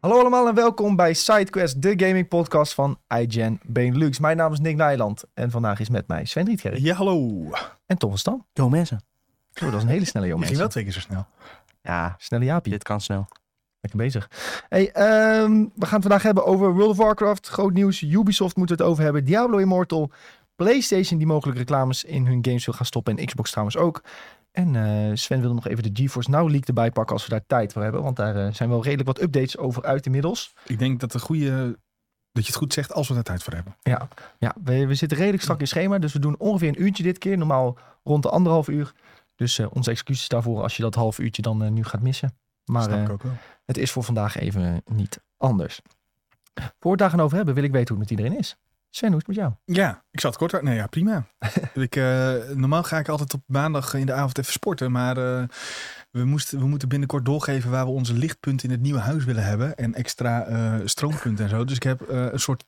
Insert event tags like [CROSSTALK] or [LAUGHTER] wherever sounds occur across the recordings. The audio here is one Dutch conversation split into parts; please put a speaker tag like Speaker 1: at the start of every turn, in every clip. Speaker 1: Hallo allemaal en welkom bij SideQuest, de gaming podcast van iGen Benelux. Mijn naam is Nick Nijland en vandaag is met mij Sven Rietkerk
Speaker 2: Ja, hallo.
Speaker 1: en Tom van Stam.
Speaker 3: Yo mensen,
Speaker 1: Zo, dat is een hele snelle jongen.
Speaker 2: Je ging wel twee keer zo snel.
Speaker 1: Ja, snelle Jaapie.
Speaker 3: dit kan snel.
Speaker 1: Lekker bezig. Hey, ehm, we gaan het vandaag hebben over World of Warcraft, groot nieuws. Ubisoft moet het over hebben. Diablo Immortal, PlayStation die mogelijk reclames in hun games wil gaan stoppen en Xbox trouwens ook. En eh, Sven wilde nog even de GeForce Now leak erbij pakken als we daar tijd voor hebben, want daar eh, zijn wel redelijk wat updates over uit inmiddels.
Speaker 2: Ik denk dat, de goede, dat je het goed zegt als we daar tijd voor hebben.
Speaker 1: Ja, ja we, we zitten redelijk strak in schema. Dus we doen ongeveer een uurtje dit keer. Normaal rond de anderhalf uur. Dus eh, onze excuses daarvoor als je dat half uurtje dan eh, nu gaat missen. Maar
Speaker 2: Snap
Speaker 1: eh,
Speaker 2: ik ook wel.
Speaker 1: het is voor vandaag even eh, niet anders. Voor we het daar gaan over hebben, wil ik weten hoe het met iedereen is. Sven, hoe is het met jou?
Speaker 2: Ja, ik zat kort uit. Nee, ja, prima. ik, eh, normaal ga ik altijd op maandag in de avond even sporten. Maar eh, we, moesten, we moeten binnenkort doorgeven waar we onze lichtpunten in het nieuwe huis willen hebben. En extra eh, stroompunten en zo. Dus ik heb eh, een soort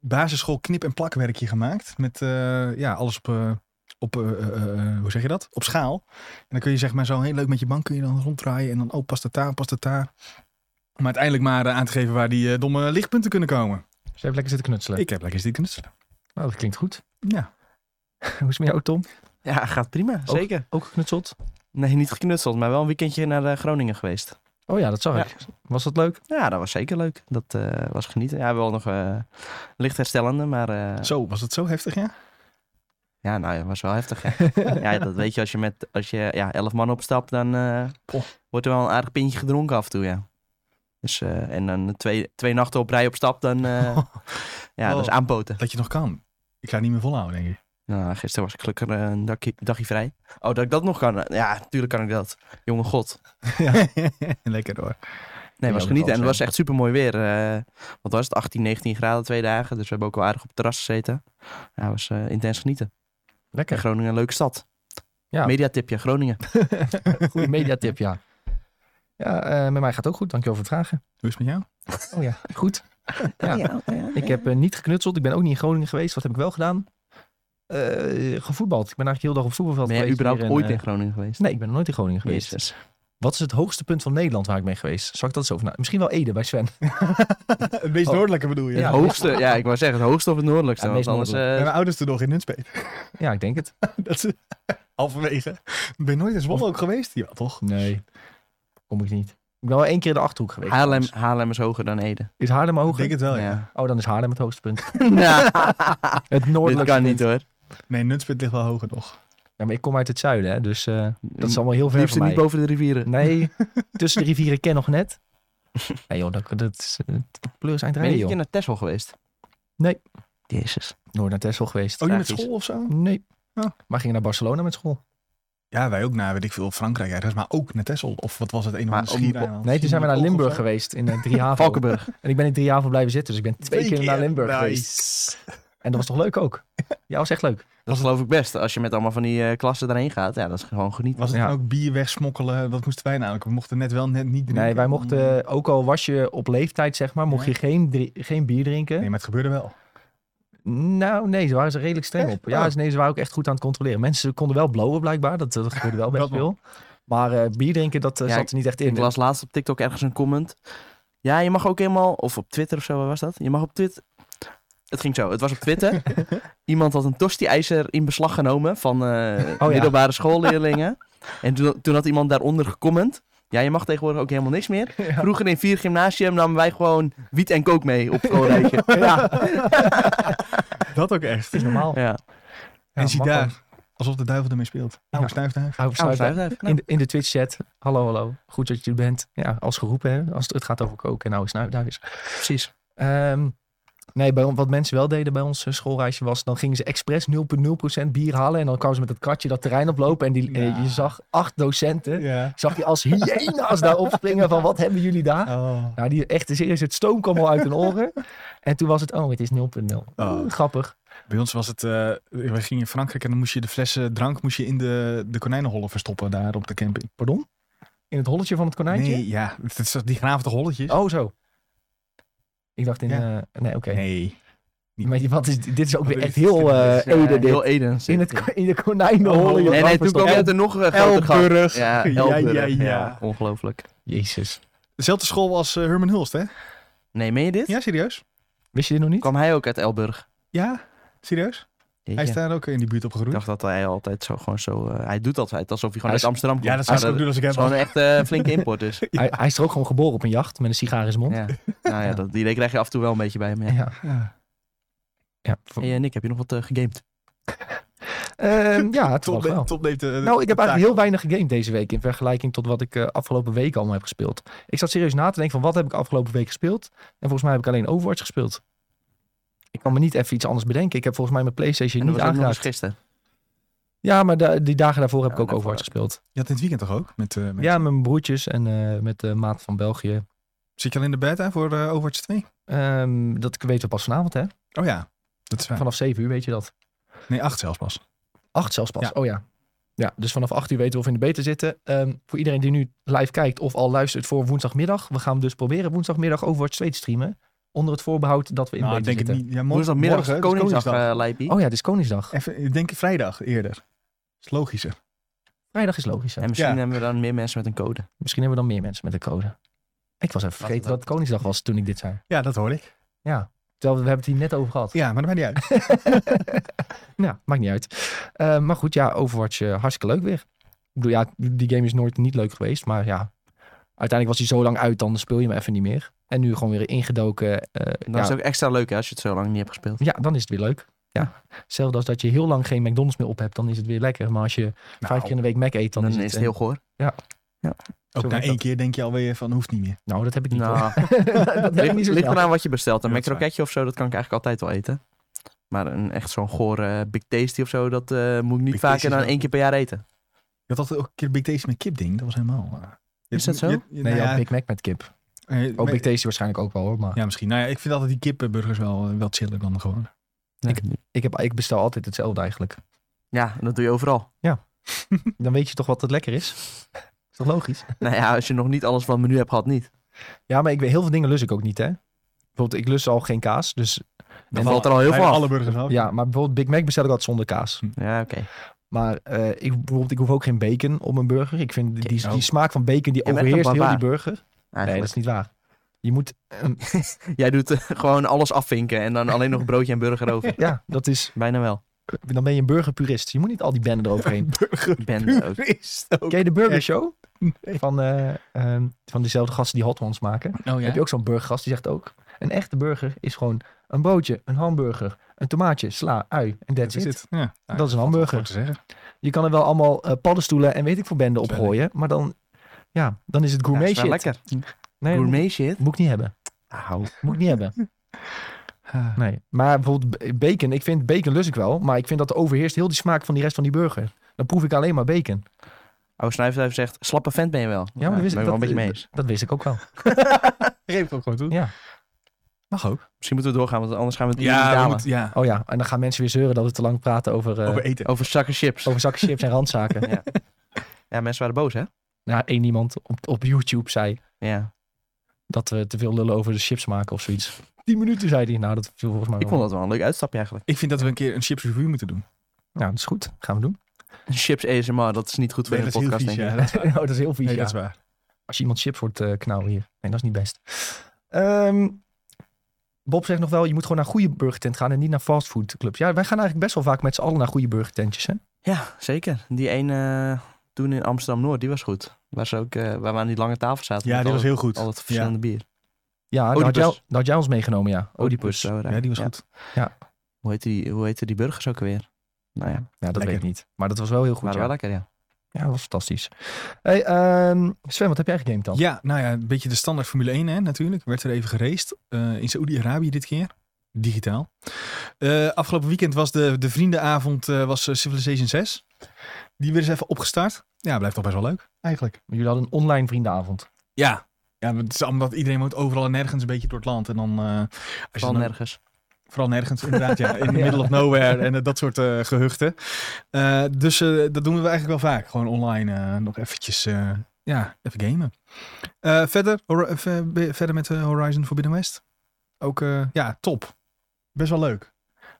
Speaker 2: basisschool knip- en plakwerkje gemaakt. Met eh, ja, alles op... eh, op, eh, eh, eh, hoe zeg je dat? Op schaal. En dan kun je zeg maar zo heel leuk met je bank kun je dan ronddraaien. En dan, oh, past het daar, past het daar. Om uiteindelijk maar eh, aan te geven waar die eh, domme lichtpunten kunnen komen.
Speaker 1: Dus even lekker zitten knutselen.
Speaker 2: Ik heb lekker zitten knutselen.
Speaker 1: Nou, dat klinkt goed. [LAUGHS]
Speaker 2: Ja.
Speaker 1: hoe is het met jou, Tom?
Speaker 3: Ja, gaat prima, zeker.
Speaker 1: Ook geknutseld?
Speaker 3: Nee, niet geknutseld, maar wel een weekendje naar eh, Groningen geweest.
Speaker 1: Oh ja, dat zag ik. Was dat leuk?
Speaker 3: Ja, dat was zeker leuk. Dat eh, was genieten. Ja, wel nog eh, licht herstellende, maar eh,
Speaker 2: Zo, was het zo heftig, ja?
Speaker 3: ja, nou, ja, was wel heftig. hè. ja, dat weet je, als je met als je, ja, elf man opstapt, dan eh,
Speaker 2: Poh.
Speaker 3: wordt er wel een aardig pintje gedronken af en toe, ja. Dus, eh, en dan twee, twee nachten op rij op stap, dan
Speaker 2: [LAUGHS]
Speaker 3: eh, ja, dat is
Speaker 2: Oh.
Speaker 3: aanpoten.
Speaker 2: Dat je nog kan. Ik ga het niet meer volhouden, [LAUGHS] denk ik.
Speaker 3: Nou, gisteren was ik gelukkig eh, een dagje, dagje vrij. Oh, dat ik dat nog kan? Ja, natuurlijk kan ik dat. Jonge god.
Speaker 2: [LAUGHS] Lekker [LAUGHS] hoor.
Speaker 3: Nee,
Speaker 1: Ja,
Speaker 3: was
Speaker 1: dat
Speaker 3: genieten.
Speaker 1: kan
Speaker 3: En het
Speaker 1: zijn.
Speaker 3: was echt super mooi weer. Eh, wat was het? 18, 19 graden twee dagen. Dus we hebben ook wel aardig op het terras gezeten. Ja, het was eh, intens genieten. En
Speaker 1: Lekker.
Speaker 3: Groningen, een leuke stad.
Speaker 1: Ja.
Speaker 3: Mediatipje, Groningen.
Speaker 1: Goede mediatip, ja. Ja, eh, met mij gaat het ook goed. Dankjewel voor het vragen.
Speaker 2: Hoe is het met jou?
Speaker 1: Oh ja, goed. [LAUGHS] Ja.
Speaker 3: ja, ja.
Speaker 1: Ik heb eh, niet geknutseld. Ik ben ook niet in Groningen geweest. Wat heb ik wel gedaan? Eh, gevoetbald. Ik ben eigenlijk heel de dag op het voetbalveld
Speaker 3: Ben jij
Speaker 1: geweest.
Speaker 3: überhaupt
Speaker 1: hier
Speaker 3: ooit
Speaker 1: eh,
Speaker 3: in Groningen geweest?
Speaker 1: Nee, ik ben nog nooit in Groningen geweest.
Speaker 3: Jezus.
Speaker 1: Wat is het hoogste punt van Nederland waar ik ben geweest? Zal ik dat eens over na- Misschien wel Ede bij Sven. [LAUGHS]
Speaker 2: Het meest
Speaker 1: Oh.
Speaker 2: noordelijke bedoel je?
Speaker 1: Ja.
Speaker 2: Ja. Eh,
Speaker 3: Hoogste, ja, ik wou zeggen, het hoogste of het noordelijkste.
Speaker 1: Ja, het
Speaker 3: want
Speaker 1: meest
Speaker 3: anders, eh,
Speaker 2: Mijn ouders toen nog in Nunspeet.
Speaker 1: Ja, ik denk het.
Speaker 2: [LAUGHS] Dat is [LAUGHS] halverwege. Ben je nooit in Zwolle ook geweest? Ja, toch?
Speaker 1: Nee, kom ik niet. Ik ben wel één keer in de Achterhoek geweest.
Speaker 3: Haarlem,
Speaker 1: trouwens.
Speaker 3: Haarlem is hoger dan Ede.
Speaker 1: Is Haarlem
Speaker 2: Ik
Speaker 1: hoger?
Speaker 2: denk het wel, ja.
Speaker 1: [LAUGHS]
Speaker 3: Ja. [LAUGHS]
Speaker 1: Oh, dan is Haarlem het hoogste punt.
Speaker 3: Nou,
Speaker 1: Het
Speaker 3: dit
Speaker 1: noordelijkste
Speaker 3: kan niet
Speaker 1: punt.
Speaker 3: hoor.
Speaker 2: Nee, Nunspeet ligt wel hoger nog. Oh,
Speaker 1: Ja, maar ik kom uit het zuiden, hè, dus eh, dat is allemaal heel ver
Speaker 3: Mm, Liefst
Speaker 1: van mij.
Speaker 3: niet boven de rivieren. [LAUGHS]
Speaker 1: Nee, tussen de rivieren ken nog net. Nee joh, dat, dat is... eh, pleurs
Speaker 3: Ben je
Speaker 1: eindrijden
Speaker 3: een keer
Speaker 1: joh.
Speaker 3: naar Texel geweest?
Speaker 1: Nee.
Speaker 3: Jezus.
Speaker 1: Nooit naar Texel geweest.
Speaker 2: Ook niet met
Speaker 3: Tragisch.
Speaker 2: school of zo?
Speaker 1: Nee.
Speaker 2: Oh.
Speaker 1: Maar gingen naar Barcelona met school.
Speaker 2: Ja, wij ook naar, weet ik veel, Frankrijk ergens. Maar ook naar Texel. Of wat was het, een of
Speaker 3: Maar
Speaker 2: andere
Speaker 3: om-
Speaker 2: schiereiland.
Speaker 1: Nee, toen zijn we naar
Speaker 2: Ook of
Speaker 1: Limburg
Speaker 2: zo.
Speaker 1: geweest in eh, Driehaven.
Speaker 3: Valkenburg.
Speaker 1: En ik ben in Driehaven blijven zitten, dus ik ben twee, keer naar Limburg
Speaker 2: Nice.
Speaker 1: geweest. En dat was toch leuk ook? Ja, was echt leuk.
Speaker 3: Dat geloof ik best. Als je met allemaal van die eh, klassen daarheen gaat, ja, dat is gewoon genieten.
Speaker 2: Was het
Speaker 1: Ja.
Speaker 2: dan ook bier wegsmokkelen? Dat moesten wij namelijk. We mochten net wel net niet drinken. Mm.
Speaker 1: Nee, wij mochten, eh, ook al was je op leeftijd zeg maar, mocht je geen, dri- geen bier drinken.
Speaker 2: Nee, maar het gebeurde wel.
Speaker 1: Nou nee, ze waren ze redelijk streng
Speaker 2: Echt?
Speaker 1: op. Ja,
Speaker 2: Oh.
Speaker 1: ze- nee, ze waren ook echt goed aan het controleren. Mensen konden wel blowen blijkbaar, dat, dat gebeurde wel best
Speaker 2: Dat wel.
Speaker 1: veel. Maar eh, bier drinken, dat eh,
Speaker 3: Ja,
Speaker 1: zat er niet echt in.
Speaker 3: Ik las laatst op TikTok ergens een comment. Ja, je mag ook helemaal, of op Twitter of zo, waar was dat? Je mag op Twitter. Het ging zo, het was op [LAUGHS] Twitter. Iemand had een tosti-ijzer in beslag genomen van eh,
Speaker 1: ja.
Speaker 3: middelbare [LAUGHS] schoolleerlingen. En toen, toen had iemand daaronder gecomment. Ja, je mag tegenwoordig ook helemaal niks [LAUGHS] meer. Vroeger in vier gymnasium namen wij gewoon wiet en kook mee op [LAUGHS] schoolreisje. ja,
Speaker 2: Dat ook echt.
Speaker 1: is normaal.
Speaker 3: ja.
Speaker 1: Ja,
Speaker 2: en zie
Speaker 1: mag
Speaker 2: daar, alsof de duivel ermee speelt. Oude
Speaker 1: Ja.
Speaker 2: snuifduif.
Speaker 1: Hou op
Speaker 3: Nou,
Speaker 1: sluiten.
Speaker 3: sluit even.
Speaker 1: In de, in de Twitch-chat. Hallo, hallo. Goed dat je er bent. Ja, als geroepen, hè? als het, het gaat over koken. Nou, is nou daar is.
Speaker 3: precies.
Speaker 1: Ehm, nee, bij, on- wat mensen wel deden bij ons eh, schoolreisje was... dan gingen ze expres 0,0% bier halen... en dan kwamen ze met dat kratje dat terrein oplopen... en die, eh,
Speaker 2: Ja.
Speaker 1: je zag acht docenten...
Speaker 2: Ja.
Speaker 1: zag je als hyena's daar opspringen van... wat hebben jullie daar?
Speaker 2: Oh.
Speaker 1: Nou, die echt serieus, het stoom kwam al uit hun oren. En toen was het, oh, het is 0,0.
Speaker 2: Oh.
Speaker 1: Grappig.
Speaker 2: Bij ons was het, eh we gingen in Frankrijk en dan moest je de flessen drank moest je in de, de konijnenhollen verstoppen daar op de camping.
Speaker 1: Pardon? In het holletje van het konijntje?
Speaker 2: Nee, ja, het is die graven toch holletjes?
Speaker 1: Oh, zo. Ik dacht in...
Speaker 2: Ja.
Speaker 1: eh, nee, oké.
Speaker 2: Nee. niet.
Speaker 1: Maar die- wat is, dit is ook weer
Speaker 2: Wat
Speaker 1: echt
Speaker 2: is-
Speaker 1: heel eh
Speaker 3: Ja,
Speaker 1: Ede dit.
Speaker 3: heel Eden.
Speaker 1: In, het, ko- in de konijnenhol.
Speaker 2: Oh,
Speaker 1: je
Speaker 3: Nee, nee,
Speaker 1: rampen
Speaker 3: toen kwam
Speaker 1: stoppen.
Speaker 3: het er nog eh, groter gat.
Speaker 2: Elburg.
Speaker 3: Ja,
Speaker 2: [LAUGHS] Ja,
Speaker 3: Elburg.
Speaker 2: ja,
Speaker 3: Ja,
Speaker 2: ja.
Speaker 3: ongelooflijk.
Speaker 1: Jezus.
Speaker 2: Dezelfde school als eh, Herman Hulst, hè?
Speaker 3: Nee, meen je dit?
Speaker 2: Ja, serieus?
Speaker 1: Wist je dit nog niet?
Speaker 3: Kwam hij ook uit Elburg?
Speaker 2: Ja, serieus? Hij is
Speaker 3: Jeetje.
Speaker 2: daar ook in die buurt
Speaker 3: Ik
Speaker 2: opgegroeid.
Speaker 3: dacht dat hij altijd zo gewoon zo... eh, hij doet altijd alsof hij
Speaker 1: Hij
Speaker 3: gewoon
Speaker 1: is-
Speaker 3: uit Amsterdam komt.
Speaker 2: Ja, dat zou ik
Speaker 3: Maar
Speaker 2: ook doen als ik
Speaker 3: is
Speaker 2: hem
Speaker 3: gewoon
Speaker 2: was.
Speaker 3: een echt eh, flinke
Speaker 2: [LAUGHS]
Speaker 3: import dus.
Speaker 1: Hij, hij is er ook gewoon geboren op een jacht met een sigaar in zijn mond.
Speaker 3: Ja. Nou ja, dat, die idee krijg je af en toe wel een beetje bij hem. Ja.
Speaker 1: Ja.
Speaker 2: Ja.
Speaker 1: Ja,
Speaker 3: Hey, eh, Nick, heb je nog wat eh, gegamed?
Speaker 1: Ehm, ja
Speaker 2: Top,
Speaker 1: toch wel.
Speaker 2: top neemt de-
Speaker 1: Nou, ik heb
Speaker 2: de taak
Speaker 1: eigenlijk heel
Speaker 2: op.
Speaker 1: weinig gegamed deze week in vergelijking tot wat ik eh, afgelopen week allemaal heb gespeeld. Ik zat serieus na te denken van wat heb ik afgelopen week gespeeld? En volgens mij heb ik alleen Overwatch gespeeld. Ik kan me niet even iets anders bedenken. Ik heb volgens mij mijn PlayStation
Speaker 3: En dat
Speaker 1: niet
Speaker 3: was ook nog eens
Speaker 1: aangeraakt.
Speaker 3: gisteren.
Speaker 1: Ja, maar da- die dagen daarvoor heb
Speaker 3: Ja,
Speaker 1: ik ook
Speaker 3: daarvoor
Speaker 1: Overwatch gespeeld.
Speaker 2: Je had in het weekend toch ook? Met, eh, met-
Speaker 1: Ja, met mijn broertjes en eh, met de maat van België.
Speaker 2: Zit je al in de beta voor eh, Overwatch 2?
Speaker 1: Ehm, dat weten we pas vanavond, hè?
Speaker 2: Oh ja, dat is waar.
Speaker 1: Vanaf 7 uur weet je dat.
Speaker 2: Nee, 8 zelfs pas.
Speaker 1: 8 zelfs pas.
Speaker 2: Ja.
Speaker 1: Oh ja. Ja, dus vanaf 8 uur weten we of we in de beta zitten. Ehm, voor iedereen die nu live kijkt of al luistert voor woensdagmiddag. We gaan dus proberen woensdagmiddag Overwatch 2 te streamen. Onder het voorbehoud dat we in
Speaker 2: Nou,
Speaker 1: de
Speaker 2: ik
Speaker 1: beta
Speaker 2: denk het
Speaker 1: zitten.
Speaker 2: niet. Ja, morgen,
Speaker 3: Woensdagmiddag
Speaker 2: morgen,
Speaker 3: is
Speaker 2: hè, dus
Speaker 3: Koningsdag,
Speaker 2: Koningsdag.
Speaker 3: eh, Leipi.
Speaker 1: Oh ja, het is Koningsdag.
Speaker 2: Even, ik denk vrijdag eerder. is logischer.
Speaker 1: Vrijdag is logisch. hè?
Speaker 3: En misschien
Speaker 2: Ja.
Speaker 3: hebben we dan meer mensen met een code.
Speaker 1: Misschien hebben we dan meer mensen met een code. Ik was even vergeten
Speaker 3: dat-
Speaker 1: dat het Koningsdag was toen ik dit zei.
Speaker 2: Ja, dat hoor ik.
Speaker 1: Terwijl we, we hebben het hier net over gehad.
Speaker 2: Ja, maar dat maakt
Speaker 1: [LAUGHS]
Speaker 2: niet uit.
Speaker 1: Nou, maakt niet uit. Eh, maar goed, ja, Overwatch eh, hartstikke leuk weer. Ik bedoel, ja, die game is nooit niet leuk geweest. Maar ja, uiteindelijk was hij zo lang uit, dan speel je hem even niet meer. En nu gewoon weer ingedoken. eh,
Speaker 3: En dan
Speaker 1: ja,
Speaker 3: is het ook extra leuk hè, als je het zo lang niet hebt gespeeld.
Speaker 1: ja, dan is het weer leuk. Ja. Zelfs als dat je heel lang geen McDonald's meer op hebt, dan is het weer lekker. Maar als je [LAUGHS] vijf keer in de week Mac eet, dan,
Speaker 3: Nou,
Speaker 1: eh,
Speaker 3: Dan, is het heel goor.
Speaker 2: Nou, Ook na
Speaker 1: werkt
Speaker 2: één
Speaker 1: dat.
Speaker 2: keer denk je alweer van, hoeft niet meer.
Speaker 1: Nou, dat heb ik niet. hoor. [LAUGHS]
Speaker 3: Nou,
Speaker 1: dat heb ik niet
Speaker 3: ligt,
Speaker 1: zo
Speaker 3: ligt
Speaker 1: snel.
Speaker 3: eraan wat je bestelt. Een
Speaker 2: Ja, dat is waar.
Speaker 3: makroketje of zo, dat kan ik eigenlijk altijd wel eten. Maar een, echt zo'n gore eh, Big Tasty of zo, dat eh, moet ik niet
Speaker 2: Big Tasty
Speaker 3: vaker
Speaker 2: is
Speaker 3: dan
Speaker 2: wel-
Speaker 3: één keer per jaar eten.
Speaker 2: Je had altijd ook een keer Big Tasty met kipding. Dat was helemaal... eh, je-
Speaker 3: Is dat zo?
Speaker 2: je- je-
Speaker 1: Nee,
Speaker 2: nou
Speaker 1: ja,
Speaker 2: ja,
Speaker 1: Big Mac met kip.
Speaker 2: eh,
Speaker 1: Ook
Speaker 2: me-
Speaker 1: Big Tasty waarschijnlijk ook wel hoor. Maar
Speaker 2: Ja, misschien. Nou ja, ik vind altijd die kippenburgers wel, eh, wel chiller dan gewoon.
Speaker 3: Ik-
Speaker 1: ik, heb, ik bestel altijd hetzelfde eigenlijk.
Speaker 3: ja, dat doe je overal.
Speaker 1: Dan weet je toch wat het lekker is? Is toch logisch?
Speaker 3: nou ja, als je nog niet alles van het menu hebt gehad, niet.
Speaker 1: Ja, maar ik weet, heel veel dingen lus ik ook niet, hè? Bijvoorbeeld, ik lus al geen kaas. Dus
Speaker 3: Dan valt er al heel
Speaker 2: Bijna
Speaker 3: veel af.
Speaker 2: alle burgers af.
Speaker 1: ja,
Speaker 2: [LAUGHS]
Speaker 1: maar bijvoorbeeld Big Mac bestel ik altijd zonder kaas.
Speaker 3: Ja, oké.
Speaker 1: Maar eh, ik, bijvoorbeeld, ik hoef ook geen bacon op mijn burger. Ik vind die, die,
Speaker 2: Oh.
Speaker 1: die smaak van bacon die
Speaker 3: Jij bent een
Speaker 1: overheerst heel die
Speaker 3: barbaar.
Speaker 1: burger. Nee, dat
Speaker 3: Eigenlijk.
Speaker 1: is niet waar. Je moet, ehm,
Speaker 3: Ah, Jij doet eh, [LAUGHS] gewoon alles afvinken en dan alleen nog broodje en burger
Speaker 1: [LAUGHS]
Speaker 3: over.
Speaker 1: ja, dat is,
Speaker 3: Bijna wel.
Speaker 1: dan ben je een burgerpurist. Je moet niet al die benden eroverheen.
Speaker 3: Ik ben eh, ook.
Speaker 2: Is ook.
Speaker 1: Ken je de Burger Show?
Speaker 2: Nee.
Speaker 1: Van, eh, ehm, van dezelfde gasten die hot ones maken.
Speaker 2: Oh
Speaker 1: Heb je ook zo'n burgergast die zegt ook, een echte burger is gewoon een broodje, een hamburger, een tomaatje, sla, ui en
Speaker 2: Dat
Speaker 1: that's
Speaker 2: is
Speaker 1: it.
Speaker 2: het. Ja. Nou,
Speaker 1: Dat is een hamburger.
Speaker 2: goed te zeggen.
Speaker 1: Je kan er wel allemaal eh, paddenstoelen en weet ik veel benden op
Speaker 2: Zwellen.
Speaker 1: gooien. Maar dan, ja, dan is het gourmet
Speaker 3: Ja, is wel
Speaker 1: shit.
Speaker 3: lekker.
Speaker 1: Nee, dat
Speaker 3: Gourmet shit.
Speaker 1: moet, moet ik niet hebben.
Speaker 3: Au.
Speaker 1: Moet ik niet
Speaker 3: [LAUGHS]
Speaker 1: hebben.
Speaker 2: Ah.
Speaker 1: Nee. Maar bijvoorbeeld b- bacon. Ik vind bacon lus ik wel. Maar ik vind dat er overheerst heel die smaak van die rest van die burger. Dan proef ik alleen maar bacon.
Speaker 3: Oh, Snuifduif zegt, slappe vent ben je wel.
Speaker 1: Ja, maar wist
Speaker 3: ben
Speaker 1: ik
Speaker 3: wel
Speaker 1: dat,
Speaker 3: een beetje mee eens.
Speaker 1: Dat wist ik ook wel.
Speaker 2: Geef ook gewoon toe.
Speaker 1: Ja.
Speaker 2: Mag ook.
Speaker 3: Misschien moeten we doorgaan, want anders gaan we het niet
Speaker 2: Ja, we
Speaker 3: dalen.
Speaker 2: moeten- ja.
Speaker 1: Oh ja, en dan gaan mensen weer zeuren dat we te lang praten over, eh,
Speaker 2: over
Speaker 1: over...
Speaker 2: eten.
Speaker 3: Over zakken chips.
Speaker 1: zakken chips
Speaker 3: [LAUGHS]
Speaker 1: en randzaken.
Speaker 3: Ja. ja, mensen waren boos, hè?
Speaker 1: Nou, één iemand op, op YouTube zei
Speaker 3: Ja.
Speaker 1: dat we te veel lullen over de chips maken of zoiets. Tien minuten zei hij. Nou, dat viel volgens mij
Speaker 3: Ik
Speaker 1: wel.
Speaker 3: vond dat wel een leuk uitstapje eigenlijk.
Speaker 2: Ik vind dat we een keer een chips review moeten doen.
Speaker 1: Nou, dat is goed. Gaan we
Speaker 3: [LAUGHS]
Speaker 1: doen.
Speaker 3: [LAUGHS] Chips ASMR, dat is niet goed voor
Speaker 2: Nee,
Speaker 3: in de
Speaker 2: dat is heel
Speaker 3: podcast,
Speaker 2: vies,
Speaker 3: denk
Speaker 2: ja. Dat-
Speaker 3: ik.
Speaker 1: Oh, dat is heel vies.
Speaker 2: [LAUGHS] nee,
Speaker 1: ja.
Speaker 2: dat is waar.
Speaker 1: als je iemand chips wordt eh knauwen hier. Nee, dat is niet best. Ehm, Bob zegt nog wel, je moet gewoon naar goede burgertent gaan en niet naar fastfoodclubs. Ja, wij gaan eigenlijk best wel vaak met z'n allen naar goede burgertentjes, hè?
Speaker 3: Ja, zeker. Die ene eh, toen in Amsterdam-Noord, die was goed. Waar, ze ook, eh, waar we aan die lange tafel zaten.
Speaker 2: Ja,
Speaker 3: met
Speaker 2: die
Speaker 3: al
Speaker 2: was
Speaker 3: het-
Speaker 2: heel goed.
Speaker 3: Al het verschillende bier.
Speaker 1: Ja, daar had,
Speaker 3: Oedipus.
Speaker 1: jij, daar had jij ons meegenomen, ja.
Speaker 3: Oedipus.
Speaker 1: Ja,
Speaker 3: zo, daar.
Speaker 2: Ja, die was
Speaker 3: Ja.
Speaker 2: goed.
Speaker 3: Hoe heette die, hoe heette die burgers ook alweer? Nou ja,
Speaker 1: dat
Speaker 2: Lekker.
Speaker 1: weet ik niet. Maar dat was wel heel goed,
Speaker 3: waren
Speaker 1: ja.
Speaker 3: wel lekker, ja.
Speaker 1: Ja, dat was fantastisch. Hey, ehm, Sven, wat heb jij gegamed dan?
Speaker 2: Ja, nou ja, een beetje de standaard Formule 1 hè, natuurlijk. Werd er even geraced. eh, in Saoedi-Arabië dit keer. Digitaal. Eh, afgelopen weekend was de, de vriendenavond eh, was eh, Civilization 6. Die weer eens even opgestart. Ja, blijft toch best wel leuk. Eigenlijk.
Speaker 1: Jullie hadden een online vriendenavond.
Speaker 2: Ja. Ja, maar het is omdat iedereen moet overal en nergens een beetje door het land. En dan... eh, als je
Speaker 3: Vooral
Speaker 2: dan-
Speaker 3: nergens.
Speaker 2: Vooral nergens, inderdaad. Ja, in the middle of nowhere en eh, dat soort eh, gehuchten. Eh, dus eh, dat doen we eigenlijk wel vaak. Gewoon online eh, nog eventjes, eh, ja, even gamen. Eh, verder, Hor- eh, ver- be- verder met eh, Horizon Forbidden West. Ook, eh, ja, top. Best wel leuk.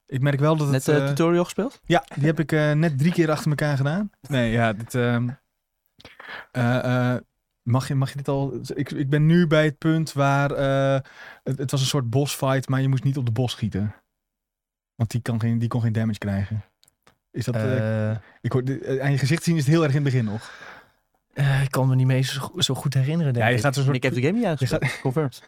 Speaker 2: Ik merk wel dat het...
Speaker 3: Net eh,
Speaker 2: eh,
Speaker 3: tutorial gespeeld?
Speaker 2: ja, die heb ik eh, net drie keer achter elkaar gedaan. Nee, ja, dit... ehm, eh, eh, Mag je, mag je dit al... Ik, ik ben nu bij het punt waar... eh, het, het was een soort bossfight, maar je moest niet op de bos schieten. Want die, kan geen, die kon geen damage krijgen. Is dat... eh,
Speaker 1: Eh,
Speaker 2: ik hoor, eh, aan je gezicht zien is het heel erg in het begin nog.
Speaker 1: eh, ik kan me niet meer zo, go- zo goed herinneren, denk
Speaker 2: Ja, je
Speaker 1: ik.
Speaker 2: gaat een
Speaker 3: En
Speaker 2: soort
Speaker 3: ik heb de game niet uitgespeeld. Confirmed.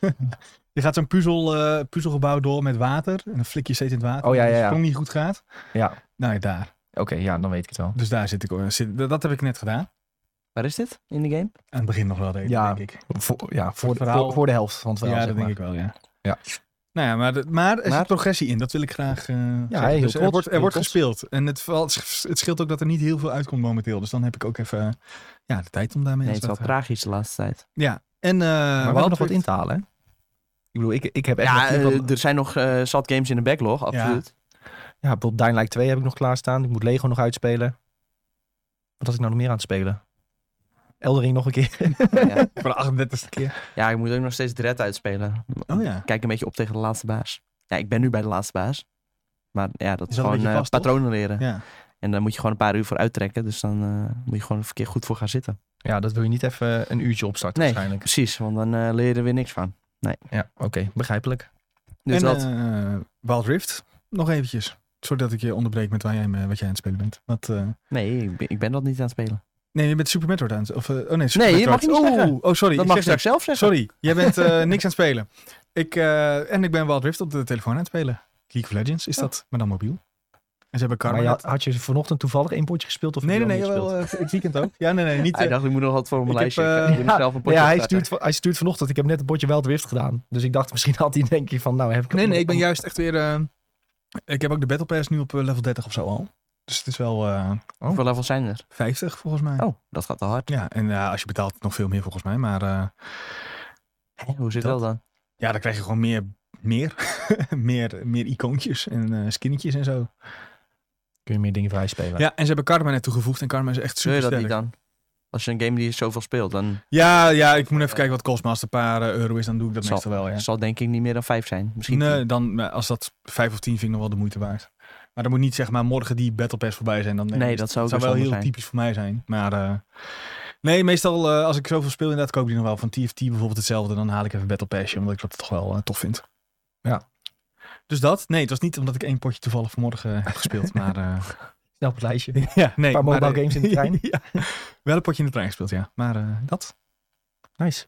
Speaker 2: Je gaat zo'n puzzel, eh, puzzelgebouw door met water. En dan flik je steeds in het water.
Speaker 1: Oh, ja,
Speaker 2: als
Speaker 1: ja,
Speaker 2: de
Speaker 1: ja.
Speaker 2: sprong niet goed gaat.
Speaker 1: Ja,
Speaker 2: Nou ja, daar.
Speaker 1: oké, ja, dan weet ik het wel.
Speaker 2: Dus daar zit ik. eh, Zit, dat dat heb ik net gedaan.
Speaker 3: Waar is dit in de game?
Speaker 2: Aan het begin nog wel deed,
Speaker 1: Ja.
Speaker 2: denk ik.
Speaker 1: Voor, ja, voor,
Speaker 2: het
Speaker 1: de-
Speaker 2: verhaal-
Speaker 1: voor, voor de helft van het verhaal,
Speaker 2: ja,
Speaker 1: zeg
Speaker 2: dat
Speaker 1: maar.
Speaker 2: denk ik wel, ja.
Speaker 1: Ja.
Speaker 2: Nou ja, maar, de- maar er
Speaker 3: Maar-
Speaker 2: zit progressie in. Dat wil ik graag eh, zeggen.
Speaker 1: heel
Speaker 2: Dus er
Speaker 1: trots,
Speaker 2: wordt, er
Speaker 1: heel
Speaker 2: wordt
Speaker 1: trots.
Speaker 2: gespeeld. En het, vooral- het scheelt ook dat er niet heel veel uitkomt momenteel. Dus dan heb ik ook even eh, ja, de tijd om daarmee aan
Speaker 3: Nee, het is
Speaker 2: de slag
Speaker 3: wel
Speaker 2: te gaan.
Speaker 3: tragisch de laatste tijd.
Speaker 2: Ja. En, eh
Speaker 1: Maar we hebben nog wat in te halen, hè? Ik bedoel, ik, ik heb echt... nog
Speaker 3: Ja,
Speaker 1: heel veel-
Speaker 3: eh,
Speaker 2: dus-
Speaker 3: er zijn nog eh zat games in de backlog, absoluut.
Speaker 1: Ja, bijvoorbeeld Dying Light 2 heb ik nog klaarstaan. Ik moet Lego nog uitspelen. Wat had ik nou nog meer aan het spelen? Eldering nog een
Speaker 2: [LAUGHS]
Speaker 1: keer.
Speaker 3: Ja.
Speaker 2: Voor de 38ste keer.
Speaker 3: ja, ik moet ook nog steeds Dread uitspelen.
Speaker 2: Oh ja.
Speaker 3: Kijk een beetje op tegen de laatste baas. Ja, ik ben nu bij de laatste baas. Maar ja, dat
Speaker 2: Is dat
Speaker 3: is,
Speaker 2: een
Speaker 3: gewoon
Speaker 2: beetje
Speaker 3: eh,
Speaker 2: vast, toch?
Speaker 3: patronen leren.
Speaker 2: ja.
Speaker 3: En daar moet je gewoon een paar uur voor uittrekken. Dus dan eh, moet je gewoon een keer goed voor gaan zitten.
Speaker 1: Ja, dat wil je niet even een uurtje opstarten
Speaker 3: Nee.
Speaker 1: waarschijnlijk.
Speaker 3: Precies, want dan eh, leer je er weer niks van.
Speaker 1: Ja, oké. Begrijpelijk.
Speaker 3: Dus
Speaker 2: en
Speaker 3: dat,
Speaker 2: eh, Wild Rift, nog eventjes. Sorry dat ik je onderbreek met waar jij, me- wat jij aan het spelen bent. Wat, eh,
Speaker 3: nee, ik ben, ik ben dat niet aan het spelen.
Speaker 2: nee, je bent Super Metroid aan het... Of, eh, oh nee, Super
Speaker 3: Nee,
Speaker 2: Metroid.
Speaker 3: je mag je niet
Speaker 2: oh,
Speaker 3: zeggen.
Speaker 2: oh, sorry.
Speaker 3: Dat
Speaker 2: ik
Speaker 3: mag
Speaker 2: zeg
Speaker 3: je straks zelf
Speaker 2: niks.
Speaker 3: zeggen.
Speaker 2: Sorry, jij bent eh, niks aan het spelen. Ik, eh, en ik ben Wild Rift op de telefoon aan het spelen. League of Legends is dat, maar dan mobiel. En ze hebben Karma.
Speaker 1: maar je had, had je vanochtend toevallig een potje gespeeld? Of
Speaker 2: nee, nee,
Speaker 1: heb je
Speaker 2: nee,
Speaker 1: al niet
Speaker 2: wel,
Speaker 1: gespeeld?
Speaker 2: eh, ik weekend ook. [LAUGHS] Ja, nee, nee, niet...
Speaker 3: Hij
Speaker 2: eh,
Speaker 3: dacht, ik moet nog wat voor mijn
Speaker 2: ik
Speaker 3: lijstje.
Speaker 2: heb,
Speaker 3: Ik
Speaker 2: eh,
Speaker 3: moet nog zelf een potje
Speaker 1: ja, hij
Speaker 3: opstarten.
Speaker 1: stuurt, hij stuurt vanochtend. Ik heb net een potje Wild Rift gedaan. Dus ik dacht, [LAUGHS] misschien had hij denk ik van, nou heb ik...
Speaker 2: nee, nee, ik
Speaker 1: [LAUGHS]
Speaker 2: ben juist echt weer... eh, ik heb ook de Battle Pass nu op eh, level 30 of zo al. Dus het is wel eh,
Speaker 3: Oh, Hoeveel levels zijn er?
Speaker 2: 50 volgens mij.
Speaker 3: Oh, dat gaat te hard.
Speaker 2: Ja, en eh, als je betaalt nog veel meer volgens mij, maar... eh,
Speaker 3: Hè, hoe zit
Speaker 2: Dat-
Speaker 3: dat, dan?
Speaker 2: Ja, dan krijg je gewoon meer, meer, [LAUGHS] meer, meer icoontjes en eh skinnetjes en zo.
Speaker 1: Kun je meer dingen vrij spelen.
Speaker 2: Ja, en ze hebben Karma net toegevoegd en Karma is echt
Speaker 3: Zul je
Speaker 2: super
Speaker 3: dat niet
Speaker 2: sterk.
Speaker 3: dan? Als je een game die zoveel speelt, dan
Speaker 2: Ja, ja, ik moet even kijken wat het kost, maar als het een paar eh, euro is, dan doe ik dat
Speaker 3: Zal-
Speaker 2: meestal wel, ja.
Speaker 3: zal denk ik niet meer dan vijf zijn. Misschien
Speaker 2: Nee,
Speaker 3: tien.
Speaker 2: dan, eh, als dat vijf of tien vind ik nog wel de moeite waard. Maar dan moet niet zeg maar morgen die Battle Pass voorbij zijn. Dan,
Speaker 3: Nee, dat zou ook
Speaker 2: wel
Speaker 3: wel
Speaker 2: heel
Speaker 3: zonde zijn.
Speaker 2: typisch voor mij zijn. Maar eh, nee, meestal eh, als ik zoveel speel, inderdaad koop ik die nog wel. Van TFT bijvoorbeeld hetzelfde, dan haal ik even Battle Passje, omdat ik dat toch wel eh, tof vind.
Speaker 1: Ja.
Speaker 2: Dus dat? Nee, het was niet omdat ik één potje toevallig vanmorgen eh, heb gespeeld, maar... eh,
Speaker 1: [LAUGHS] Snel op het lijstje.
Speaker 2: Ja, nee.
Speaker 1: Een paar mobile
Speaker 2: eh,
Speaker 1: games
Speaker 2: [LAUGHS]
Speaker 1: in de trein.
Speaker 2: ja. Wel een potje in de trein gespeeld, ja. Maar eh, dat.
Speaker 1: Nice.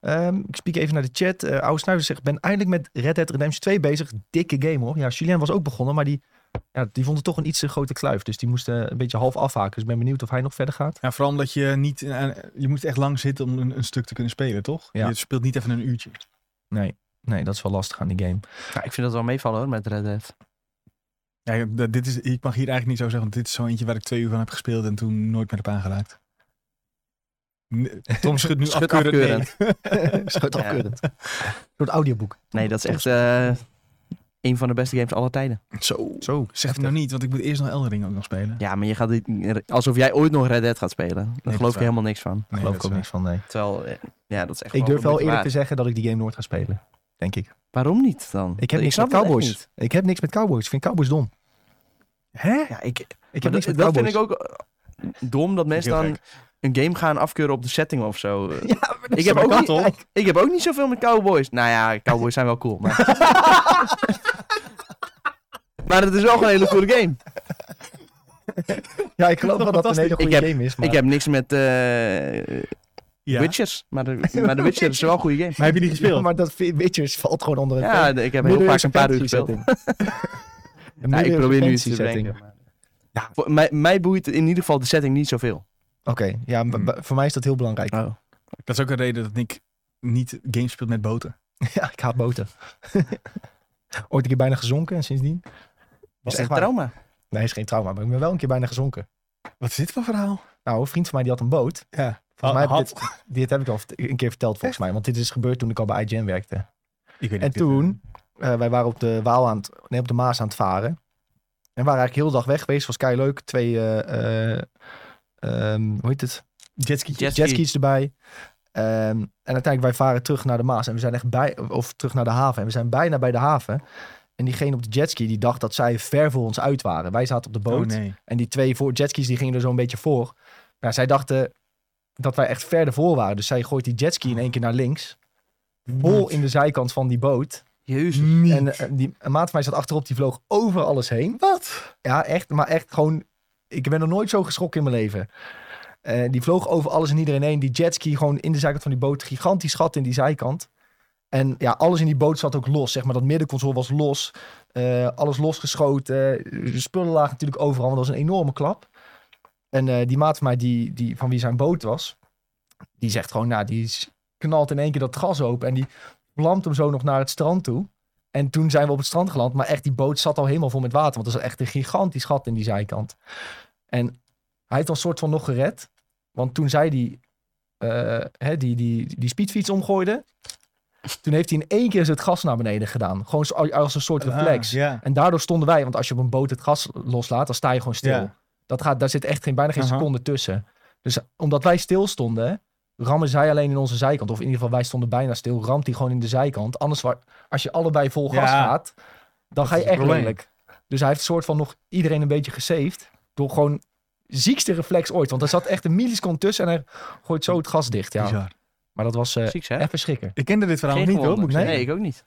Speaker 1: Ehm, ik spiek even naar de chat. Eh Oude Snuiver zegt, ben eindelijk met Red Dead Redemption 2 bezig. Dikke game hoor. Ja, Julien was ook begonnen, maar die, ja, die vond het toch een iets te grote kluif. Dus die moest eh, een beetje half afhaken. Dus ik ben benieuwd of hij nog verder gaat.
Speaker 2: Ja, vooral omdat je niet... eh, je moet echt lang zitten om een, een stuk te kunnen spelen, toch?
Speaker 1: Ja.
Speaker 2: Je speelt niet even een uurtje.
Speaker 1: Nee, nee, dat is wel lastig aan die [LAUGHS] game.
Speaker 3: Ja, ik vind dat wel meevallen hoor met Red Dead.
Speaker 2: Ja, d- dit is, ik mag hier eigenlijk niet zo zeggen, want dit is zo eentje waar ik twee uur van heb gespeeld en toen nooit meer heb aangeraakt. N- Tom [LAUGHS] schudt nu
Speaker 3: Schudt
Speaker 2: afkeurend. nee. [LAUGHS]
Speaker 3: afkeurend.
Speaker 1: Schut
Speaker 3: Ja.
Speaker 1: afkeurend. Een soort audioboek.
Speaker 3: Nee, dat is echt eh, een van de beste games aller tijden.
Speaker 2: Zo,
Speaker 1: Zo.
Speaker 2: zeg het nou niet, want ik moet eerst nog Eldering ook nog spelen.
Speaker 3: Ja, maar je gaat dit, alsof jij ooit nog Red Dead gaat spelen. Daar
Speaker 2: dat is
Speaker 3: geloof ik
Speaker 2: waar.
Speaker 3: helemaal niks van.
Speaker 2: Nee,
Speaker 1: geloof
Speaker 2: dat
Speaker 1: ik
Speaker 2: is
Speaker 1: ook
Speaker 2: waar.
Speaker 1: niks van, nee.
Speaker 3: Terwijl, eh, ja, dat is echt
Speaker 1: Ik durf wel
Speaker 3: moeite
Speaker 1: eerlijk te
Speaker 3: waard.
Speaker 1: zeggen dat ik die game nooit ga spelen. Denk ik.
Speaker 3: Waarom niet dan?
Speaker 1: Ik heb niks
Speaker 3: snap
Speaker 1: met
Speaker 3: het echt
Speaker 1: Cowboys.
Speaker 3: niet.
Speaker 1: Ik heb niks met Cowboys. Ik vind Cowboys dom.
Speaker 2: Hè?
Speaker 3: Ja, ik,
Speaker 1: Ik
Speaker 3: maar
Speaker 1: heb
Speaker 3: dat,
Speaker 1: niks met
Speaker 3: dat vind
Speaker 1: Cowboys.
Speaker 3: ik ook eh, dom dat mensen
Speaker 2: Heel
Speaker 3: dan een game gaan afkeuren op de setting of [LAUGHS] zo. Eh,
Speaker 1: Ja, maar dat
Speaker 3: ik,
Speaker 1: is
Speaker 3: heb
Speaker 1: toch
Speaker 3: ook
Speaker 2: kan
Speaker 3: niet,
Speaker 2: toch?
Speaker 3: ik heb ook niet zoveel met Cowboys. Nou ja, Cowboys zijn wel cool. Maar, [LAUGHS] maar het is wel gewoon een hele coole game.
Speaker 1: Ja, ik geloof wel dat het een hele goede
Speaker 3: Ik heb-
Speaker 1: game is. Maar...
Speaker 3: Ik heb niks met eh
Speaker 2: Ja.
Speaker 3: Witchers. Maar de, maar de Witcher is wel een goede game.
Speaker 2: Maar heb je die gespeeld?
Speaker 1: Ja, maar dat Witchers valt gewoon onder het
Speaker 3: Ja, de- ik heb heel vaak een paar uur gespeeld. [LAUGHS] Nou, ik probeer nu iets te
Speaker 1: setting.
Speaker 3: bedenken. Ja, voor- mij, mij boeit in ieder geval de setting niet zoveel.
Speaker 1: Oké, ja, b-
Speaker 2: Hmm.
Speaker 1: b- voor mij is dat heel belangrijk.
Speaker 3: Oh.
Speaker 2: Dat is ook een reden dat ik niet games speelt met boten.
Speaker 1: [LAUGHS] Ja, ik haat boten. Ooit een keer bijna gezonken en sindsdien?
Speaker 3: Was
Speaker 1: echt
Speaker 3: het een
Speaker 1: waar.
Speaker 3: trauma?
Speaker 1: Nee, is geen trauma, maar ik ben wel een keer bijna gezonken.
Speaker 2: Wat is dit voor verhaal?
Speaker 1: Nou, een vriend van mij die had een boot.
Speaker 2: Ja.
Speaker 1: Volgens mij heb ik dit, dit heb ik al een keer verteld volgens mij, want dit is gebeurd toen ik al bij IGN werkte.
Speaker 2: Ik weet
Speaker 1: En
Speaker 2: niet, dit, Oh,
Speaker 1: toen, eh, wij waren op de, Waal aan het, nee, op de Maas aan het varen. En waren eigenlijk heel de dag weg geweest. Was kei leuk. Twee, eh, eh, ehm, hoe heet het?
Speaker 2: eh, Jetski.
Speaker 3: Jet- Jetski.
Speaker 1: Jetskis erbij. Ehm, en uiteindelijk, wij varen terug naar de Maas. En we zijn echt bij, of terug naar de haven. En we zijn bijna bij de haven. En diegene op de jetski, die dacht dat zij ver voor ons uit waren. Wij zaten op de boot.
Speaker 2: Oh nee.
Speaker 1: En die twee voor, jetskis, die gingen er zo'n beetje voor. Maar zij dachten, dat wij echt verder voor waren. Dus zij gooit die jetski in één keer naar links. Vol in de zijkant van die boot.
Speaker 3: Jezus.
Speaker 2: Niet.
Speaker 1: En eh, die, een maat van mij zat achterop, die vloog over alles heen.
Speaker 2: Wat?
Speaker 1: Ja, echt. Maar echt gewoon... Ik ben nog nooit zo geschrokken in mijn leven. Eh, die vloog over alles en iedereen heen. Die jetski gewoon in de zijkant van die boot. Gigantisch gat in die zijkant. En ja, alles in die boot zat ook los. Zeg maar, dat middenconsole was los. Eh, alles losgeschoten. Eh, Spullen lagen natuurlijk overal, want dat was een enorme klap. En eh, die maat van mij, die, die, van wie zijn boot was... Die zegt gewoon, nou, die s- knalt in één keer dat gas open. En die vlamt hem zo nog naar het strand toe. En toen zijn we op het strand geland. Maar echt, die boot zat al helemaal vol met water. Want er zat echt een gigantisch gat in die zijkant. En hij heeft ons soort van nog gered. Want toen zij die, eh, hè, die, die, die speedfiets omgooide... Toen heeft hij in één keer het gas naar beneden gedaan. Gewoon zo- als een soort reflex.
Speaker 2: Ah, ja.
Speaker 1: En daardoor stonden wij, want als je op een boot het gas loslaat, dan sta je gewoon stil.
Speaker 2: Ja.
Speaker 1: Dat gaat, daar zit echt geen, bijna geen
Speaker 2: Aha.
Speaker 1: seconde tussen. Dus omdat wij stil stonden, rammen zij alleen in onze zijkant. Of in ieder geval, wij stonden bijna stil, ramt hij gewoon in de zijkant. Anders, wa- als je allebei vol gas
Speaker 2: Ja.
Speaker 1: gaat, dan ga je
Speaker 2: is het
Speaker 1: echt
Speaker 2: probleem.
Speaker 1: lelijk. Dus hij heeft soort van nog iedereen een beetje gesaved. Door gewoon ziekste reflex ooit. Want er zat echt een milliseconde tussen en hij gooit zo het gas dicht. Ja.
Speaker 2: Bizar.
Speaker 1: Maar dat was eh
Speaker 3: Ziek hè?
Speaker 1: even schrikken.
Speaker 2: Ik kende dit verhaal
Speaker 3: Geen
Speaker 2: niet hoor,
Speaker 3: gewonden.
Speaker 2: moet ik
Speaker 3: nee,
Speaker 2: zeggen.
Speaker 3: ik ook niet.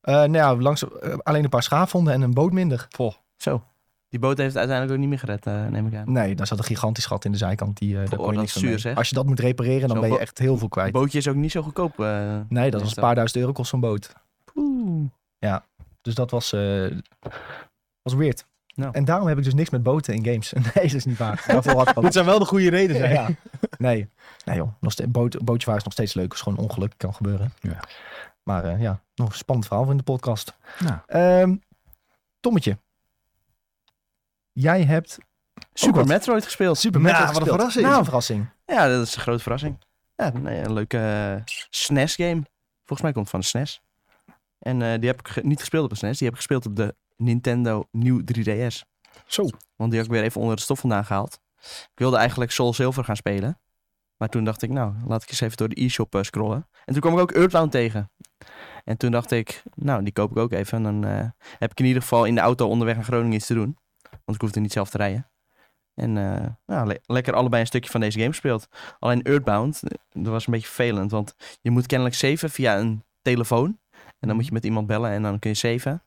Speaker 1: Eh, nou ja, langs, eh, alleen een paar schaafhonden en een boot minder.
Speaker 3: Zo. Die boot heeft het uiteindelijk ook niet meer gered, eh, neem ik aan.
Speaker 1: Nee, daar zat een gigantisch gat in de zijkant. Die, eh daar kon je
Speaker 3: dat
Speaker 1: niks
Speaker 3: is
Speaker 1: van
Speaker 3: zuur,
Speaker 1: mee.
Speaker 3: zeg.
Speaker 1: Als je dat moet repareren, dan
Speaker 3: Zo'n
Speaker 1: ben je
Speaker 3: bo-
Speaker 1: echt heel veel
Speaker 3: Het
Speaker 1: kwijt.
Speaker 3: bootje is ook niet zo goedkoop. eh.
Speaker 1: Nee, dat
Speaker 3: is
Speaker 1: was een
Speaker 3: dat-
Speaker 1: paar duizend euro kost zo'n boot.
Speaker 3: Oeh.
Speaker 1: Dus dat was, eh, was weird.
Speaker 3: Nou.
Speaker 1: En daarom heb ik dus niks met boten in games. [LAUGHS] Nee, dat is niet waar. Daarvoor had ik
Speaker 2: Het
Speaker 1: wat.
Speaker 2: zou wel de goede reden zijn.
Speaker 1: Ja. Nee. nee, joh. Nog steeds, boot, bootje varen is nog steeds leuk. Het is gewoon een ongeluk. Kan gebeuren.
Speaker 2: Ja.
Speaker 1: Maar eh, ja, nog een spannend verhaal voor in de podcast.
Speaker 2: Nou.
Speaker 1: Ehm, Tommetje. Jij hebt
Speaker 3: Super
Speaker 1: wat.
Speaker 3: Metroid gespeeld.
Speaker 1: Super
Speaker 2: Nou,
Speaker 1: Metroid
Speaker 2: wat een
Speaker 1: gespeeld.
Speaker 2: verrassing.
Speaker 1: Nou, een verrassing.
Speaker 3: Ja, dat is een grote verrassing. Ja, nee, een leuke eh, SNES-game. Volgens mij komt het van de SNES. En eh, die heb ik ge- niet gespeeld op de SNES. Die heb ik gespeeld op de Nintendo New 3DS.
Speaker 1: Zo.
Speaker 3: Want die heb ik weer even onder de stof vandaan gehaald. Ik wilde eigenlijk Soul Silver gaan spelen. Maar toen dacht ik, nou, laat ik eens even door de e-shop eh, scrollen. En toen kwam ik ook Earthbound tegen. En toen dacht ik, nou, die koop ik ook even. En dan eh, heb ik in ieder geval in de auto onderweg naar Groningen iets te doen. Want ik hoefde niet zelf te rijden. En eh, nou, le- lekker allebei een stukje van deze game gespeeld. Alleen Earthbound, eh, dat was een beetje vervelend. Want je moet kennelijk saven via een telefoon. En dan moet je met iemand bellen en dan kun je saven.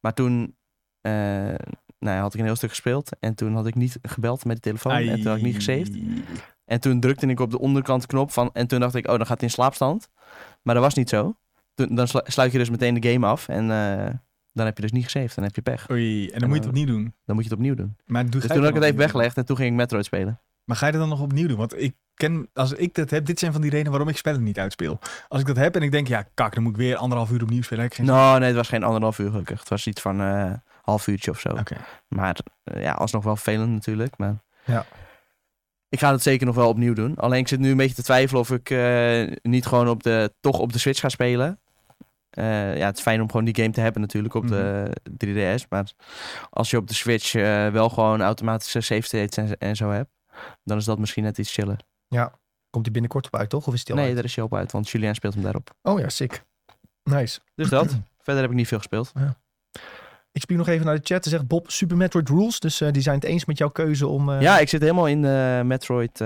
Speaker 3: Maar toen eh, nou, ja, had ik een heel stuk gespeeld. En toen had ik niet gebeld met de telefoon. En toen had eh, ik niet gesaved. En toen drukte ik op de onderkant knop van. En toen dacht ik, oh, dan gaat hij in slaapstand. Maar dat was niet zo. Toen, dan slu- sluit je dus meteen de game af. En eh, dan heb je dus niet gesaved. Dan heb je pech.
Speaker 2: Oei, en dan moet je het opnieuw doen.
Speaker 3: Dan moet je het opnieuw doen.
Speaker 2: Maar doe,
Speaker 3: Dus
Speaker 2: ga
Speaker 3: toen
Speaker 2: je het dan
Speaker 3: had ik het even
Speaker 2: opnieuw doen?
Speaker 3: weggelegd en toen ging ik Metroid spelen.
Speaker 2: Maar ga je dat dan nog opnieuw doen? Want ik ken, als ik dat heb, dit zijn van die redenen waarom ik spellen niet uitspeel. Als ik dat heb en ik denk, ja kak, dan moet ik weer anderhalf uur opnieuw spelen. Heb ik geen
Speaker 3: Nou, nee, het was geen anderhalf uur gelukkig. Het was iets van eh half uurtje of zo.
Speaker 2: zin. Oké.
Speaker 3: Maar eh, ja, alsnog wel vervelend natuurlijk. Maar
Speaker 1: Ja.
Speaker 3: Ik ga het zeker nog wel opnieuw doen. Alleen ik zit nu een beetje te twijfelen of ik eh, niet gewoon op de, toch op de Switch ga spelen. Eh, ja, het is fijn om gewoon die game te hebben natuurlijk op de 3DS. Maar als je op de Switch eh, wel gewoon automatische save states en, en zo hebt, dan is dat misschien net iets chiller.
Speaker 1: Komt die binnenkort op uit, toch? Of is die al
Speaker 3: nee,
Speaker 1: uit?
Speaker 3: daar is je op uit, want Julian speelt hem daarop.
Speaker 1: Oh ja, sick. Nice.
Speaker 3: Dus dat. [CLEARS THROAT] Verder heb ik niet veel gespeeld.
Speaker 1: Ik spiel nog even naar de chat. Er zegt Bob Super Metroid Rules. Dus eh, die zijn het eens met jouw keuze om. eh,
Speaker 3: Ja, ik zit helemaal in eh, de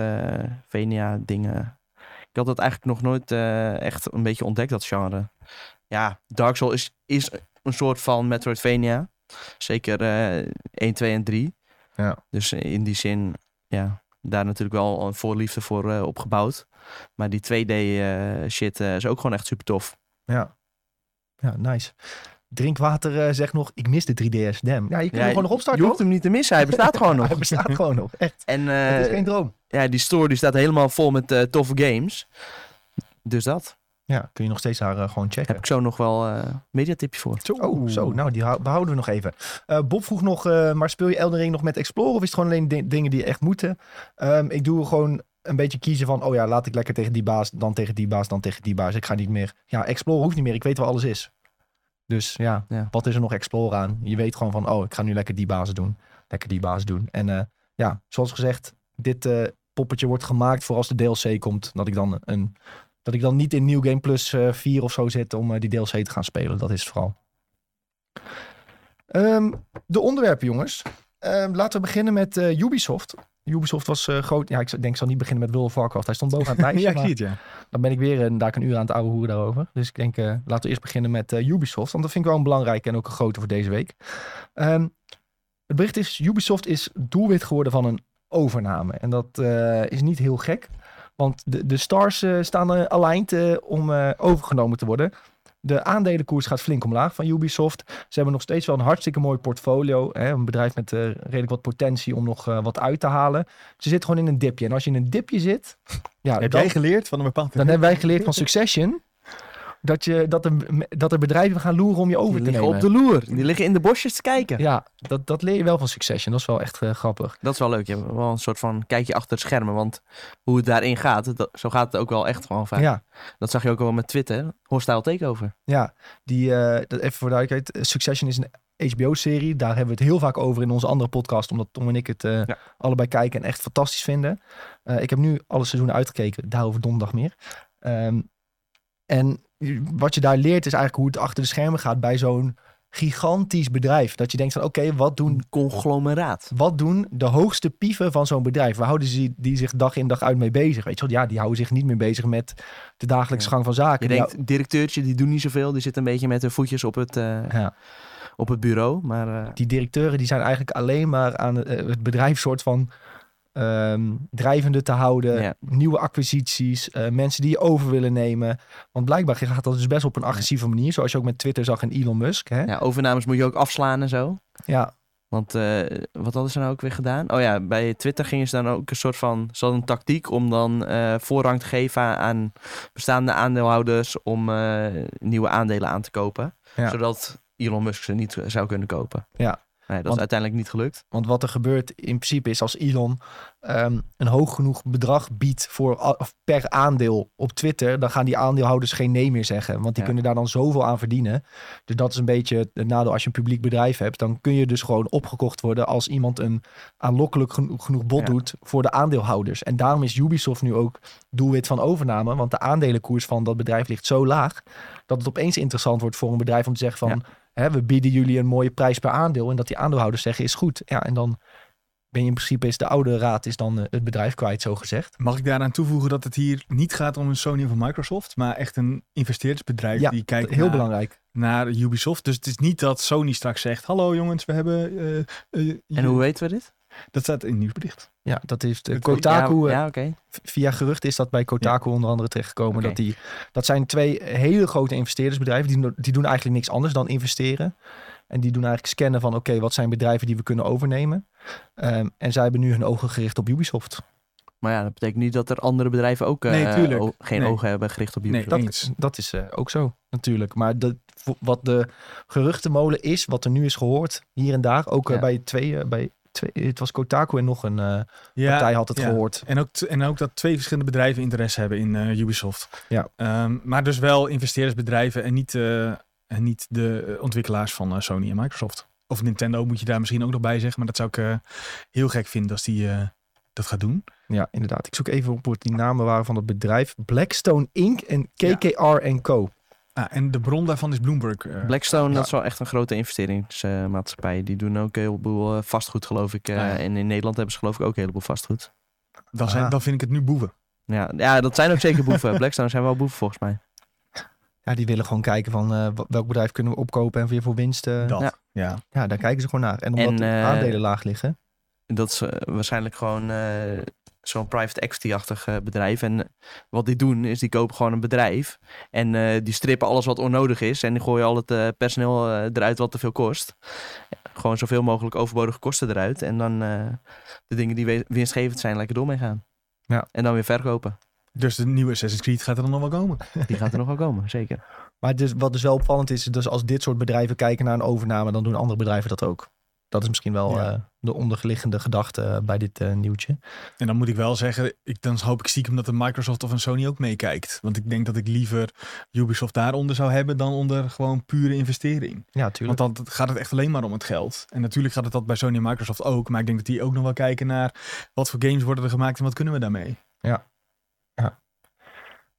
Speaker 3: Metroidvania dingen. Ik had dat eigenlijk nog nooit eh, echt een beetje ontdekt, dat genre. Ja, Dark Souls is, is een soort van Metroidvania. Zeker eh 1, 2 en 3.
Speaker 1: Ja.
Speaker 3: Dus in die zin, ja, daar natuurlijk wel een voorliefde voor eh, opgebouwd. Maar die 2D eh, shit eh, is ook gewoon echt super tof.
Speaker 1: ja. Ja, nice. Drinkwater eh, zegt nog: Ik mis de 3DS. Damn. Ja, je kunt hem
Speaker 3: Ja,
Speaker 1: gewoon nog
Speaker 3: Je
Speaker 1: opstarten.
Speaker 3: hoeft
Speaker 1: hoor.
Speaker 3: hem niet te missen, hij
Speaker 1: [LAUGHS]
Speaker 3: bestaat gewoon nog.
Speaker 1: Hij bestaat gewoon nog. Echt.
Speaker 3: En
Speaker 1: het is
Speaker 3: eh,
Speaker 1: geen droom.
Speaker 3: ja, die store die staat helemaal vol met eh, toffe games. Dus dat.
Speaker 1: Ja, kun je nog steeds haar eh, gewoon checken.
Speaker 3: heb ik zo nog wel een mediatipje voor.
Speaker 2: Zo.
Speaker 1: Oh, zo. Nou, die hou- behouden we nog even. Eh, Bob vroeg nog, eh, maar speel je Elden Ring nog met Explorer? Of is het gewoon alleen di- dingen die echt moeten? Ehm, ik doe gewoon een beetje kiezen van... Oh ja, laat ik lekker tegen die baas, dan tegen die baas, dan tegen die baas. Ik ga niet meer... Ja, Explorer hoeft niet meer. Ik weet waar alles is. Dus ja,
Speaker 3: Ja.
Speaker 1: wat is er nog Explorer aan? Je weet gewoon van... Oh, ik ga nu lekker die baas doen. Lekker die baas doen. En eh, ja, zoals gezegd, dit eh, poppetje wordt gemaakt voor als de DLC komt. Dat ik dan een... Dat ik dan niet in New Game Plus eh 4 of zo zit om eh, die DLC te gaan spelen. Dat is het vooral. Ehm, de onderwerpen, jongens. Ehm, laten we beginnen met eh, Ubisoft. Ubisoft was eh, groot. Ja, ik zou- denk, ik zal niet beginnen met World of Warcraft. Hij stond
Speaker 2: [LAUGHS]
Speaker 1: bovenaan het lijstje.
Speaker 2: ja, ik
Speaker 1: maar-
Speaker 2: zie het, ja.
Speaker 1: Dan ben ik weer een, daar een uur aan het ouwe hoeren daarover. Dus ik denk, eh, laten we eerst beginnen met eh, Ubisoft. Want dat vind ik wel een belangrijke en ook een grote voor deze week. Ehm, het bericht is, Ubisoft is doelwit geworden van een overname. En dat eh, is niet heel gek. Want de, de stars eh, staan eh, aligned eh, om eh, overgenomen te worden. De aandelenkoers gaat flink omlaag van Ubisoft. Ze hebben nog steeds wel een hartstikke mooi portfolio. Hè? Een bedrijf met eh, redelijk wat potentie om nog eh, wat uit te halen. Ze zitten gewoon in een dipje. En als je in een dipje zit... Ja,
Speaker 2: Heb
Speaker 1: dan-
Speaker 2: jij geleerd van een bepaald...
Speaker 1: dan hebben wij geleerd van Succession. Dat, je, dat, er, dat er bedrijven gaan loeren om je over
Speaker 3: Die
Speaker 1: te
Speaker 3: liggen
Speaker 1: nemen.
Speaker 3: op de loer. Die liggen in de bosjes te kijken.
Speaker 1: Ja, dat, dat leer je wel van Succession. Dat is wel echt eh, grappig.
Speaker 3: Dat is wel leuk. Je hebt wel een soort van kijkje achter de schermen. Want hoe het daarin gaat, dat- zo gaat het ook wel echt gewoon vaak.
Speaker 1: Ja,
Speaker 3: Dat zag je ook wel met Twitter. Hostile Takeover.
Speaker 1: ja. Die, eh, dat even voor duidelijkheid. eh, Succession is een HBO-serie. Daar hebben we het heel vaak over in onze andere podcast. Omdat Tom en ik het eh,
Speaker 3: Ja.
Speaker 1: allebei kijken en echt fantastisch vinden. Eh, ik heb nu alle seizoenen uitgekeken. Daarover donderdag meer. Ehm, en wat je daar leert is eigenlijk hoe het achter de schermen gaat bij zo'n gigantisch bedrijf. Dat je denkt van oké, wat doen
Speaker 3: Een conglomeraat.
Speaker 1: Wat doen de hoogste pieven van zo'n bedrijf? Waar houden ze die zich dag in dag uit mee bezig? Weet je wel? Ja, die houden zich niet meer bezig met de dagelijkse
Speaker 3: Ja.
Speaker 1: gang van zaken.
Speaker 3: Je
Speaker 1: Die
Speaker 3: denkt, directeurtje, die doen niet zoveel. Die zitten een beetje met hun voetjes op het, eh,
Speaker 1: hou- ja.
Speaker 3: op het bureau. Maar eh,
Speaker 1: Die directeuren die zijn eigenlijk alleen maar aan eh, het bedrijf soort van ehm, drijvende te houden.
Speaker 3: Ja.
Speaker 1: Nieuwe acquisities, eh, mensen die je over willen nemen. Want blijkbaar gaat dat dus best op een agressieve manier. Zoals je ook met Twitter zag en Elon Musk. Hè? Ja.
Speaker 3: ja, overnames moet je ook afslaan en zo. Want eh, wat hadden ze nou ook weer gedaan? Oh ja, bij Twitter gingen ze dan ook een soort van... Ze hadden een tactiek om dan eh, voorrang te geven aan bestaande aandeelhouders... om eh, nieuwe aandelen aan te kopen.
Speaker 1: Ja.
Speaker 3: Zodat Elon Musk ze niet zou kunnen kopen.
Speaker 1: Ja.
Speaker 3: Nee, dat
Speaker 1: Want-
Speaker 3: is uiteindelijk niet gelukt.
Speaker 1: Want wat er gebeurt in principe is als Elon ehm, een hoog genoeg bedrag biedt voor, a- of per aandeel op Twitter, dan gaan die aandeelhouders geen nee meer zeggen. Want die
Speaker 3: Ja.
Speaker 1: kunnen daar dan zoveel aan verdienen. Dus dat is een beetje het nadeel als je een publiek bedrijf hebt. Dan kun je dus gewoon opgekocht worden als iemand een aanlokkelijk geno- genoeg bod
Speaker 3: Ja.
Speaker 1: doet voor de aandeelhouders. En daarom is Ubisoft nu ook doelwit van overname. Want de aandelenkoers van dat bedrijf ligt zo laag dat het opeens interessant wordt voor een bedrijf om te zeggen van... Hè, we bieden jullie een mooie prijs per aandeel. En dat die aandeelhouders zeggen is goed. Ja, en dan ben je in principe is de oude raad is dan eh, het bedrijf kwijt, zo gezegd.
Speaker 2: Mag ik daaraan toevoegen dat het hier niet gaat om een Sony of een Microsoft, maar echt een investeerdersbedrijf
Speaker 1: Ja,
Speaker 2: die kijkt
Speaker 1: Heel
Speaker 2: naar,
Speaker 1: belangrijk.
Speaker 2: naar Ubisoft. Dus het is niet dat Sony straks zegt, hallo jongens, we hebben... eh, eh,
Speaker 3: En hoe weten we dit?
Speaker 2: Dat staat in het nieuwsbericht.
Speaker 1: Ja, dat heeft eh,
Speaker 2: Het-
Speaker 1: Kotaku.
Speaker 3: Ja,
Speaker 1: eh,
Speaker 3: ja oké.
Speaker 1: Via gerucht is dat bij Kotaku onder andere terechtgekomen.
Speaker 3: Oké.
Speaker 1: Dat, die, dat zijn twee hele grote investeerdersbedrijven. Die, no- die doen eigenlijk niks anders dan investeren. En die doen eigenlijk scannen van oké, wat zijn bedrijven die we kunnen overnemen. Ehm, en zij hebben nu hun ogen gericht op Ubisoft.
Speaker 3: Maar ja, dat betekent niet dat er andere bedrijven ook eh,
Speaker 2: Nee, tuurlijk.
Speaker 3: o- geen
Speaker 2: Nee.
Speaker 3: ogen hebben gericht op
Speaker 2: Nee,
Speaker 3: Ubisoft.
Speaker 1: Dat,
Speaker 2: Eens.
Speaker 1: dat is eh, ook zo, natuurlijk. Maar dat, vo- wat de geruchtenmolen is, wat er nu is gehoord, hier en daar, ook eh,
Speaker 3: Ja.
Speaker 1: bij twee, eh, bij twee, het was Kotaku en nog een eh,
Speaker 2: Ja,
Speaker 1: partij had het
Speaker 2: ja.
Speaker 1: gehoord.
Speaker 2: En ook, t- en ook dat twee verschillende bedrijven interesse hebben in eh, Ubisoft.
Speaker 1: Ja.
Speaker 2: Ehm, maar dus wel investeerdersbedrijven en niet, eh, en niet de eh, ontwikkelaars van eh, Sony en Microsoft. Of Nintendo moet je daar misschien ook nog bij zeggen. Maar dat zou ik eh, heel gek vinden als die eh, dat gaat doen.
Speaker 1: Ja, inderdaad. Ik zoek even op wat die namen waren van het bedrijf. Blackstone Inc. en KKR Co.
Speaker 2: Ah, en de bron daarvan is Bloomberg. eh.
Speaker 3: Blackstone,
Speaker 1: Ja.
Speaker 3: dat is wel echt een grote investeringsmaatschappij. Die doen ook een heleboel eh, vastgoed, geloof ik. eh,
Speaker 1: Ah,
Speaker 2: Ja.
Speaker 3: En in Nederland hebben ze geloof ik ook een heleboel vastgoed.
Speaker 2: dan, zijn,
Speaker 1: Ah.
Speaker 2: dan vind ik het nu boeven.
Speaker 3: Ja, ja dat zijn ook zeker boeven. [LAUGHS] Blackstone zijn wel boeven volgens mij.
Speaker 1: Ja, die willen gewoon kijken van eh, wa- welk bedrijf kunnen we opkopen en weer voor winst. eh,
Speaker 2: dat.
Speaker 3: ja.
Speaker 2: Ja.
Speaker 1: ja, daar kijken ze gewoon naar. En omdat
Speaker 3: En,
Speaker 1: de
Speaker 3: eh,
Speaker 1: aandelen laag liggen.
Speaker 3: Dat is eh, waarschijnlijk gewoon eh, zo'n private equity-achtig eh, bedrijf. En eh, wat die doen is, die kopen gewoon een bedrijf. En eh, die strippen alles wat onnodig is. En die gooien al het eh, personeel eh, eruit wat te veel kost. Gewoon zoveel mogelijk overbodige kosten eruit. En dan eh, de dingen die we- winstgevend zijn, lekker door mee gaan.
Speaker 1: Ja.
Speaker 3: En dan weer verkopen.
Speaker 2: Dus de nieuwe Assassin's Creed gaat er dan nog wel komen.
Speaker 3: Die gaat er [LAUGHS] nog wel komen, zeker.
Speaker 1: Maar dus, wat dus wel opvallend is, dus als dit soort bedrijven kijken naar een overname, dan doen andere bedrijven dat ook. Dat is misschien wel
Speaker 2: Ja.
Speaker 1: eh, de onderliggende gedachte eh, bij dit eh, nieuwtje.
Speaker 2: En dan moet ik wel zeggen, ik, dan hoop ik stiekem dat een Microsoft of een Sony ook meekijkt. Want ik denk dat ik liever Ubisoft daaronder zou hebben dan onder gewoon pure investering.
Speaker 1: Ja, tuurlijk.
Speaker 2: Want dan gaat het echt alleen maar om het geld. En natuurlijk gaat het dat bij Sony en Microsoft ook. Maar ik denk dat die ook nog wel kijken naar wat voor games worden er gemaakt en wat kunnen we daarmee.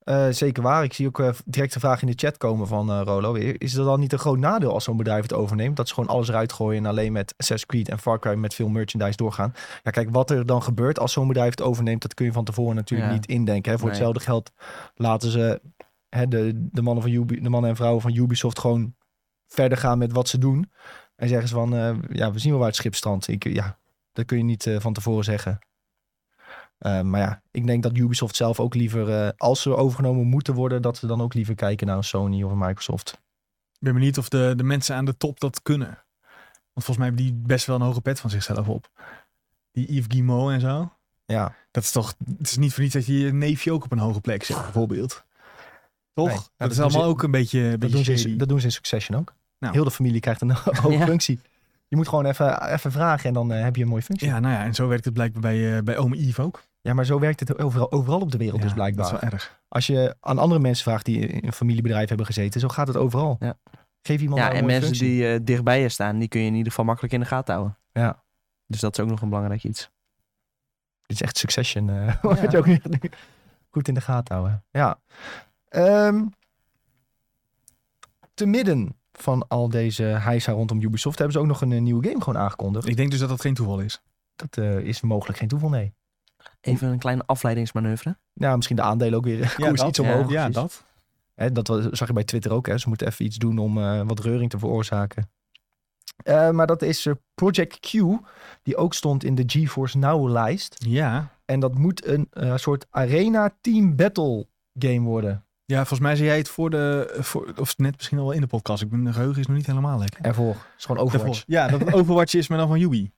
Speaker 1: Eh, zeker waar. Ik zie ook eh, direct de vraag in de chat komen van eh, Rolo. Is dat dan niet een groot nadeel als zo'n bedrijf het overneemt? Dat ze gewoon alles eruit gooien en alleen met Assassin's Creed en Far Cry met veel merchandise doorgaan. Ja, kijk, wat er dan gebeurt als zo'n bedrijf het overneemt, dat kun je van tevoren natuurlijk
Speaker 3: Ja.
Speaker 1: niet indenken. Hè. Voor
Speaker 3: Nee.
Speaker 1: hetzelfde geld laten ze hè, de, de, mannen van Ubi, de mannen en vrouwen van Ubisoft gewoon verder gaan met wat ze doen. En zeggen ze van, eh, ja, we zien wel waar het schip strandt. Ik, ja, dat kun je niet eh, van tevoren zeggen. Eh, maar ja, ik denk dat Ubisoft zelf ook liever, eh, als ze overgenomen moeten worden, dat ze dan ook liever kijken naar een Sony of een Microsoft.
Speaker 2: Ik ben benieuwd of de, de mensen aan de top dat kunnen. Want volgens mij hebben die best wel een hoge pet van zichzelf op. Die Yves Guillemot en zo.
Speaker 1: Ja,
Speaker 2: Dat is toch, het is niet voor niets dat je je neefje ook op een hoge plek zet, bijvoorbeeld. Toch?
Speaker 1: Nee, nou,
Speaker 2: dat,
Speaker 1: dat
Speaker 2: is
Speaker 1: doen
Speaker 2: allemaal
Speaker 1: ze-
Speaker 2: ook een beetje, een
Speaker 1: dat
Speaker 2: beetje
Speaker 1: doen, ze
Speaker 2: shady.
Speaker 1: in, dat doen ze in Succession ook.
Speaker 2: Nou.
Speaker 1: Heel de familie krijgt een [LAUGHS] hoge
Speaker 3: Ja.
Speaker 1: functie. Je moet gewoon even, even vragen en dan eh, heb je een mooie functie. Ja.
Speaker 2: Ja, nou ja, en zo werkt het blijkbaar bij, eh, bij oom Yves ook.
Speaker 1: maar zo werkt het overal, overal op de wereld
Speaker 2: Ja,
Speaker 1: dus blijkbaar.
Speaker 2: Dat is wel erg.
Speaker 1: Als je aan andere mensen vraagt die in een familiebedrijf hebben gezeten, zo gaat het overal.
Speaker 3: Ja.
Speaker 1: Geef iemand
Speaker 3: Ja,
Speaker 1: nou een
Speaker 3: en
Speaker 1: mooie
Speaker 3: mensen
Speaker 1: functie.
Speaker 3: die eh, dichtbij je staan, die kun je in ieder geval makkelijk in de gaten houden.
Speaker 1: Ja.
Speaker 3: Dus dat is ook nog een belangrijk iets.
Speaker 1: Dit is echt Succession. eh, [LAUGHS] wat je ook niet- Goed in de gaten houden. Ja. Ehm, te midden van al deze heisa rondom Ubisoft hebben ze ook nog een, eh, nieuwe game gewoon aangekondigd.
Speaker 2: Ik denk dus dat dat geen toeval is.
Speaker 1: Dat eh, is mogelijk geen toeval, nee.
Speaker 3: Even een kleine afleidingsmanoeuvre.
Speaker 1: Nou, misschien de aandelen ook weer koers
Speaker 2: dat,
Speaker 1: iets
Speaker 3: ja.
Speaker 1: omhoog.
Speaker 2: Ja,
Speaker 3: precies.
Speaker 2: dat.
Speaker 1: Hè, dat was- zag je bij Twitter ook. Hè? Ze moeten even iets doen om eh, wat reuring te veroorzaken. Eh, maar dat is eh, Project Q, die ook stond in de GeForce Now-lijst.
Speaker 2: Ja.
Speaker 1: En dat moet een eh, soort arena team battle game worden.
Speaker 2: Ja, volgens mij zei jij het voor de, voor, of net misschien al in de podcast. Ik ben, de geheugen is nog niet helemaal lekker.
Speaker 1: Ervoor. Het is gewoon Overwatch.
Speaker 2: Daarvoor. Ja, dat het Overwatch is, maar dan van Yubi.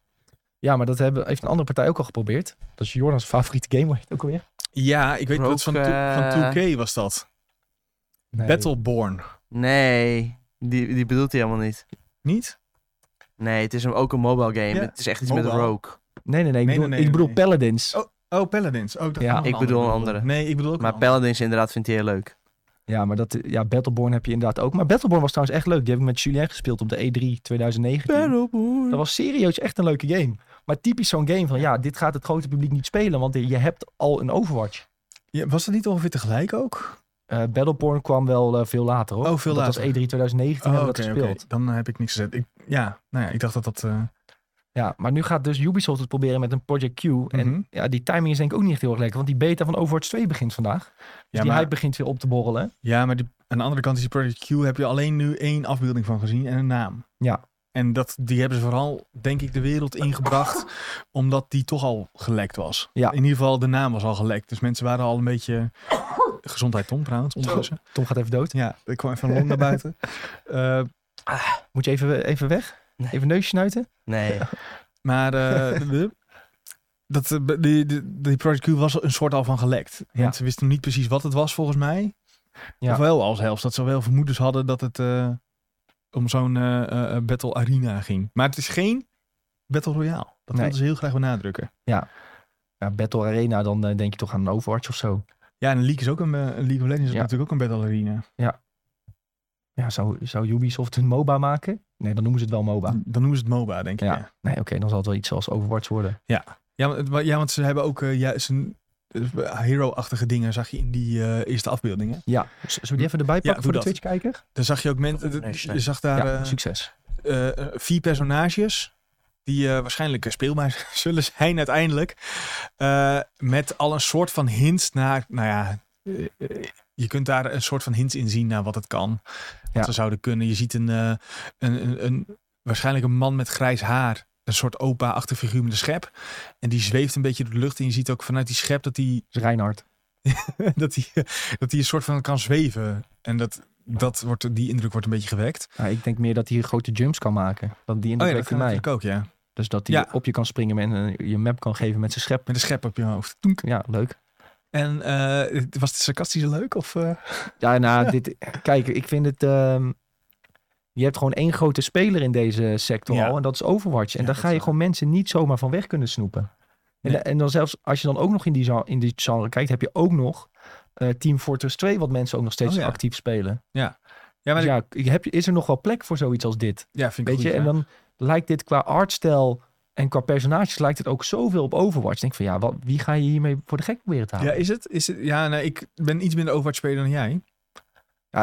Speaker 1: Ja, maar dat hebben, heeft een andere partij ook al geprobeerd. Dat is Jordan's favoriete game, hoe heet het ook alweer?
Speaker 2: Ja, ik weet dat het van,
Speaker 3: Rogue,
Speaker 2: to- van
Speaker 3: eh,
Speaker 2: 2K was dat.
Speaker 1: Nee.
Speaker 2: Battleborn.
Speaker 3: Nee, die, die bedoelt hij helemaal niet.
Speaker 2: Niet?
Speaker 3: Nee, het is een- ook een mobile game.
Speaker 2: Ja,
Speaker 3: Het is echt iets met
Speaker 2: mobile.
Speaker 3: rogue.
Speaker 1: Nee, nee, nee. Ik
Speaker 2: Nee,
Speaker 1: bedoel,
Speaker 2: nee, nee,
Speaker 1: ik bedoel
Speaker 2: nee.
Speaker 1: Paladins.
Speaker 2: Oh, Paladins. Oh, ik dacht
Speaker 1: Ja.
Speaker 2: nog
Speaker 3: Ik bedoel een andere.
Speaker 2: Nee, ik bedoel ook
Speaker 3: Maar
Speaker 2: een andere.
Speaker 3: Paladins inderdaad vindt hij heel leuk.
Speaker 1: Ja, maar dat, ja, Battleborn heb je inderdaad ook. Maar Battleborn was trouwens echt leuk. Die heb ik met Julien gespeeld op de E E3 2019. Dat was serieus echt een leuke game. Maar typisch zo'n game van, ja, dit gaat het grote publiek niet spelen. Want je hebt al een Overwatch.
Speaker 2: Ja, was dat niet ongeveer tegelijk ook?
Speaker 1: Eh Battleborn kwam wel eh, veel later, hoor.
Speaker 2: Oh, veel
Speaker 1: dat
Speaker 2: later.
Speaker 1: was E E3 2019
Speaker 2: Oh,
Speaker 1: hebben
Speaker 2: oké,
Speaker 1: we dat gespeeld.
Speaker 2: oké. Dan heb ik niks gezet. Ik, ja, nou ja, ik dacht dat dat... eh,
Speaker 1: Ja, maar nu gaat dus Ubisoft het proberen met een Project Q. En
Speaker 2: mhm.
Speaker 1: Ja, die timing is denk ik ook niet echt heel erg lekker. Want die beta van Overwatch 2 begint vandaag. Dus
Speaker 2: ja,
Speaker 1: die
Speaker 2: maar,
Speaker 1: hype begint weer op te borrelen. hè?
Speaker 2: ja, maar die, aan de andere kant is die Project Q... heb je alleen nu één afbeelding van gezien en een naam.
Speaker 1: Ja.
Speaker 2: En dat, die hebben ze vooral, denk ik, de wereld ingebracht... omdat die toch al gelekt was.
Speaker 1: Ja.
Speaker 2: In ieder geval, de naam was al gelekt. Dus mensen waren al een beetje... [COUGHS] Gezondheid Tom trouwens, ondertussen.
Speaker 1: Tom gaat even dood.
Speaker 2: Ja, ik kwam even een long naar
Speaker 1: [LAUGHS]
Speaker 2: buiten. Eh,
Speaker 1: Moet je even, even weg?
Speaker 3: Nee.
Speaker 1: Even neusje snuiten?
Speaker 3: Nee,
Speaker 2: Maar
Speaker 1: [LAUGHS]
Speaker 2: eh, de- de- dat, eh, be- die, die, die Project Q was er een soort al van gelekt.
Speaker 1: Ja.
Speaker 2: Want ze wisten niet precies wat het was volgens mij.
Speaker 1: Ja.
Speaker 2: Of wel al zelfs dat ze wel vermoedens hadden dat het eh, om zo'n eh, eh, Battle Arena ging. Maar het is geen Battle Royale. Dat
Speaker 1: Nee.
Speaker 2: wilden ze heel graag benadrukken.
Speaker 1: Ja, Battle Arena, dan eh, denk je toch aan een Overwatch of zo.
Speaker 2: Ja, en League is ook een eh, League of Legends is
Speaker 1: Ja.
Speaker 2: natuurlijk ook een Battle Arena.
Speaker 1: Ja, zou, zou Ubisoft hun MOBA maken? Nee, dan noemen ze het wel MOBA.
Speaker 2: Dan noemen ze het MOBA, denk ik. Ja, ja.
Speaker 1: Nee, oké, dan zal het wel iets als Overwatch worden.
Speaker 2: want, het wa- ja want ze hebben ook eh, juist een eh, hero-achtige dingen, zag je in die eh, eerste afbeeldingen.
Speaker 1: Ja, z- zullen we die even erbij pakken
Speaker 2: doe
Speaker 1: voor de
Speaker 2: dat.
Speaker 1: Twitch-kijker?
Speaker 2: Dan zag je ook mensen,
Speaker 3: Nee,
Speaker 2: je zag daar...
Speaker 1: Ja,
Speaker 2: eh,
Speaker 1: succes.
Speaker 2: eh, eh, vier personages. Die eh, waarschijnlijk eh, speelbaar [LAUGHS] zullen zijn uiteindelijk. Eh, met al een soort van hints naar. Nou ja, eh, eh, je kunt daar een soort van hints in zien naar wat het kan. Wat
Speaker 1: Ja.
Speaker 2: ze zouden kunnen. Je ziet een, eh, een, een, een. Waarschijnlijk een man met grijs haar. Een soort opa-achtig figuur met een schep. En die zweeft een beetje door de lucht. En je ziet ook vanuit die [LAUGHS] schep dat hij
Speaker 1: Dat is dus Reinhard.
Speaker 2: dat die, dat die een soort van kan zweven. En dat, dat wordt, die indruk wordt een beetje gewekt.
Speaker 1: Nou, ik denk meer dat hij grote jumps kan maken. Dan die
Speaker 2: Oh
Speaker 1: indruk
Speaker 2: ja, dat
Speaker 1: heeft
Speaker 2: kan
Speaker 1: hij mij.
Speaker 2: natuurlijk ook, ja.
Speaker 1: Dus dat hij
Speaker 2: Ja.
Speaker 1: op je kan springen en eh, je map kan geven met zijn schep.
Speaker 2: Met een schep op je hoofd.
Speaker 1: Ja, leuk.
Speaker 2: En eh, was het sarcastisch leuk? Of, eh?
Speaker 1: Ja, nou, dit, kijk, ik vind het. ehm, je hebt gewoon één grote speler in deze sector
Speaker 2: Ja.
Speaker 1: al, en dat is Overwatch. En
Speaker 2: Ja,
Speaker 1: daar
Speaker 2: dat
Speaker 1: ga
Speaker 2: is
Speaker 1: je
Speaker 2: waar.
Speaker 1: gewoon mensen niet zomaar van weg kunnen snoepen. En,
Speaker 2: Nee.
Speaker 1: da- en dan zelfs als je dan ook nog in die, gen- in die genre kijkt, heb je ook nog eh, Team Fortress 2, wat mensen ook nog steeds
Speaker 2: Oh, ja.
Speaker 1: actief spelen.
Speaker 2: Ja, maar
Speaker 1: Dus
Speaker 2: ik-
Speaker 1: ja, heb, je- is er nog wel plek voor zoiets als dit?
Speaker 2: ja, vind ik
Speaker 1: Weet
Speaker 2: goed,
Speaker 1: je, en
Speaker 2: ja.
Speaker 1: dan lijkt dit qua artstijl En qua personages lijkt het ook zoveel op Overwatch. Ik denk van ja, wat, wie ga je hiermee voor de gek proberen te
Speaker 2: Ja,
Speaker 1: houden? Ja,
Speaker 2: is het? Is het ja, nee, ik ben iets minder Overwatch-speler dan jij.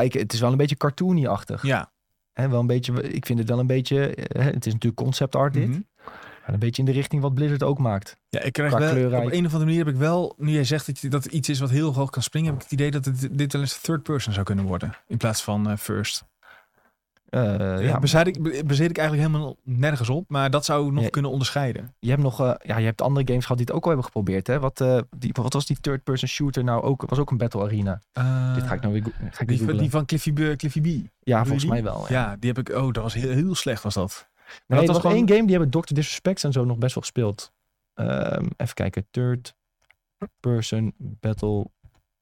Speaker 1: ik, het is wel een beetje cartoony-achtig.
Speaker 2: Ja.
Speaker 1: Hè, wel een beetje, ik vind het wel een beetje, eh, het is natuurlijk concept art dit.
Speaker 2: Mhm.
Speaker 1: Maar een beetje in de richting wat Blizzard ook maakt.
Speaker 2: Ja, ik krijg
Speaker 1: Qua
Speaker 2: wel,
Speaker 1: kleurrijk.
Speaker 2: op een of andere manier heb ik wel, nu jij zegt dat, je- dat het iets is wat heel hoog kan springen, heb ik het idee dat het, dit wel eens third person zou kunnen worden. In plaats van eh, first.
Speaker 1: Eh,
Speaker 2: ja,
Speaker 1: ja,
Speaker 2: baseer ik, be- baseer ik eigenlijk helemaal nergens op, maar dat zou nog
Speaker 1: Ja.
Speaker 2: kunnen onderscheiden.
Speaker 1: je hebt nog, eh, ja, je hebt andere games gehad die het ook al hebben geprobeerd. Hè? Wat, eh, die, wat was die third-person shooter nou ook? Was ook een battle arena.
Speaker 2: Eh,
Speaker 1: Dit ga ik nou weer go- ga ik niet
Speaker 2: die, van-
Speaker 1: googlen.
Speaker 2: die van Cliffy, B- Cliffy B.
Speaker 1: Ja,
Speaker 2: je
Speaker 1: volgens
Speaker 2: die?
Speaker 1: mij wel. Ja.
Speaker 2: Ja, die heb ik. Oh, dat was heel, heel slecht, was dat.
Speaker 1: Nee,
Speaker 2: dat
Speaker 1: er
Speaker 2: was
Speaker 1: was
Speaker 2: gewoon-
Speaker 1: één game die hebben Dr. Disrespect en zo nog best wel gespeeld. Ehm, even kijken. Third person battle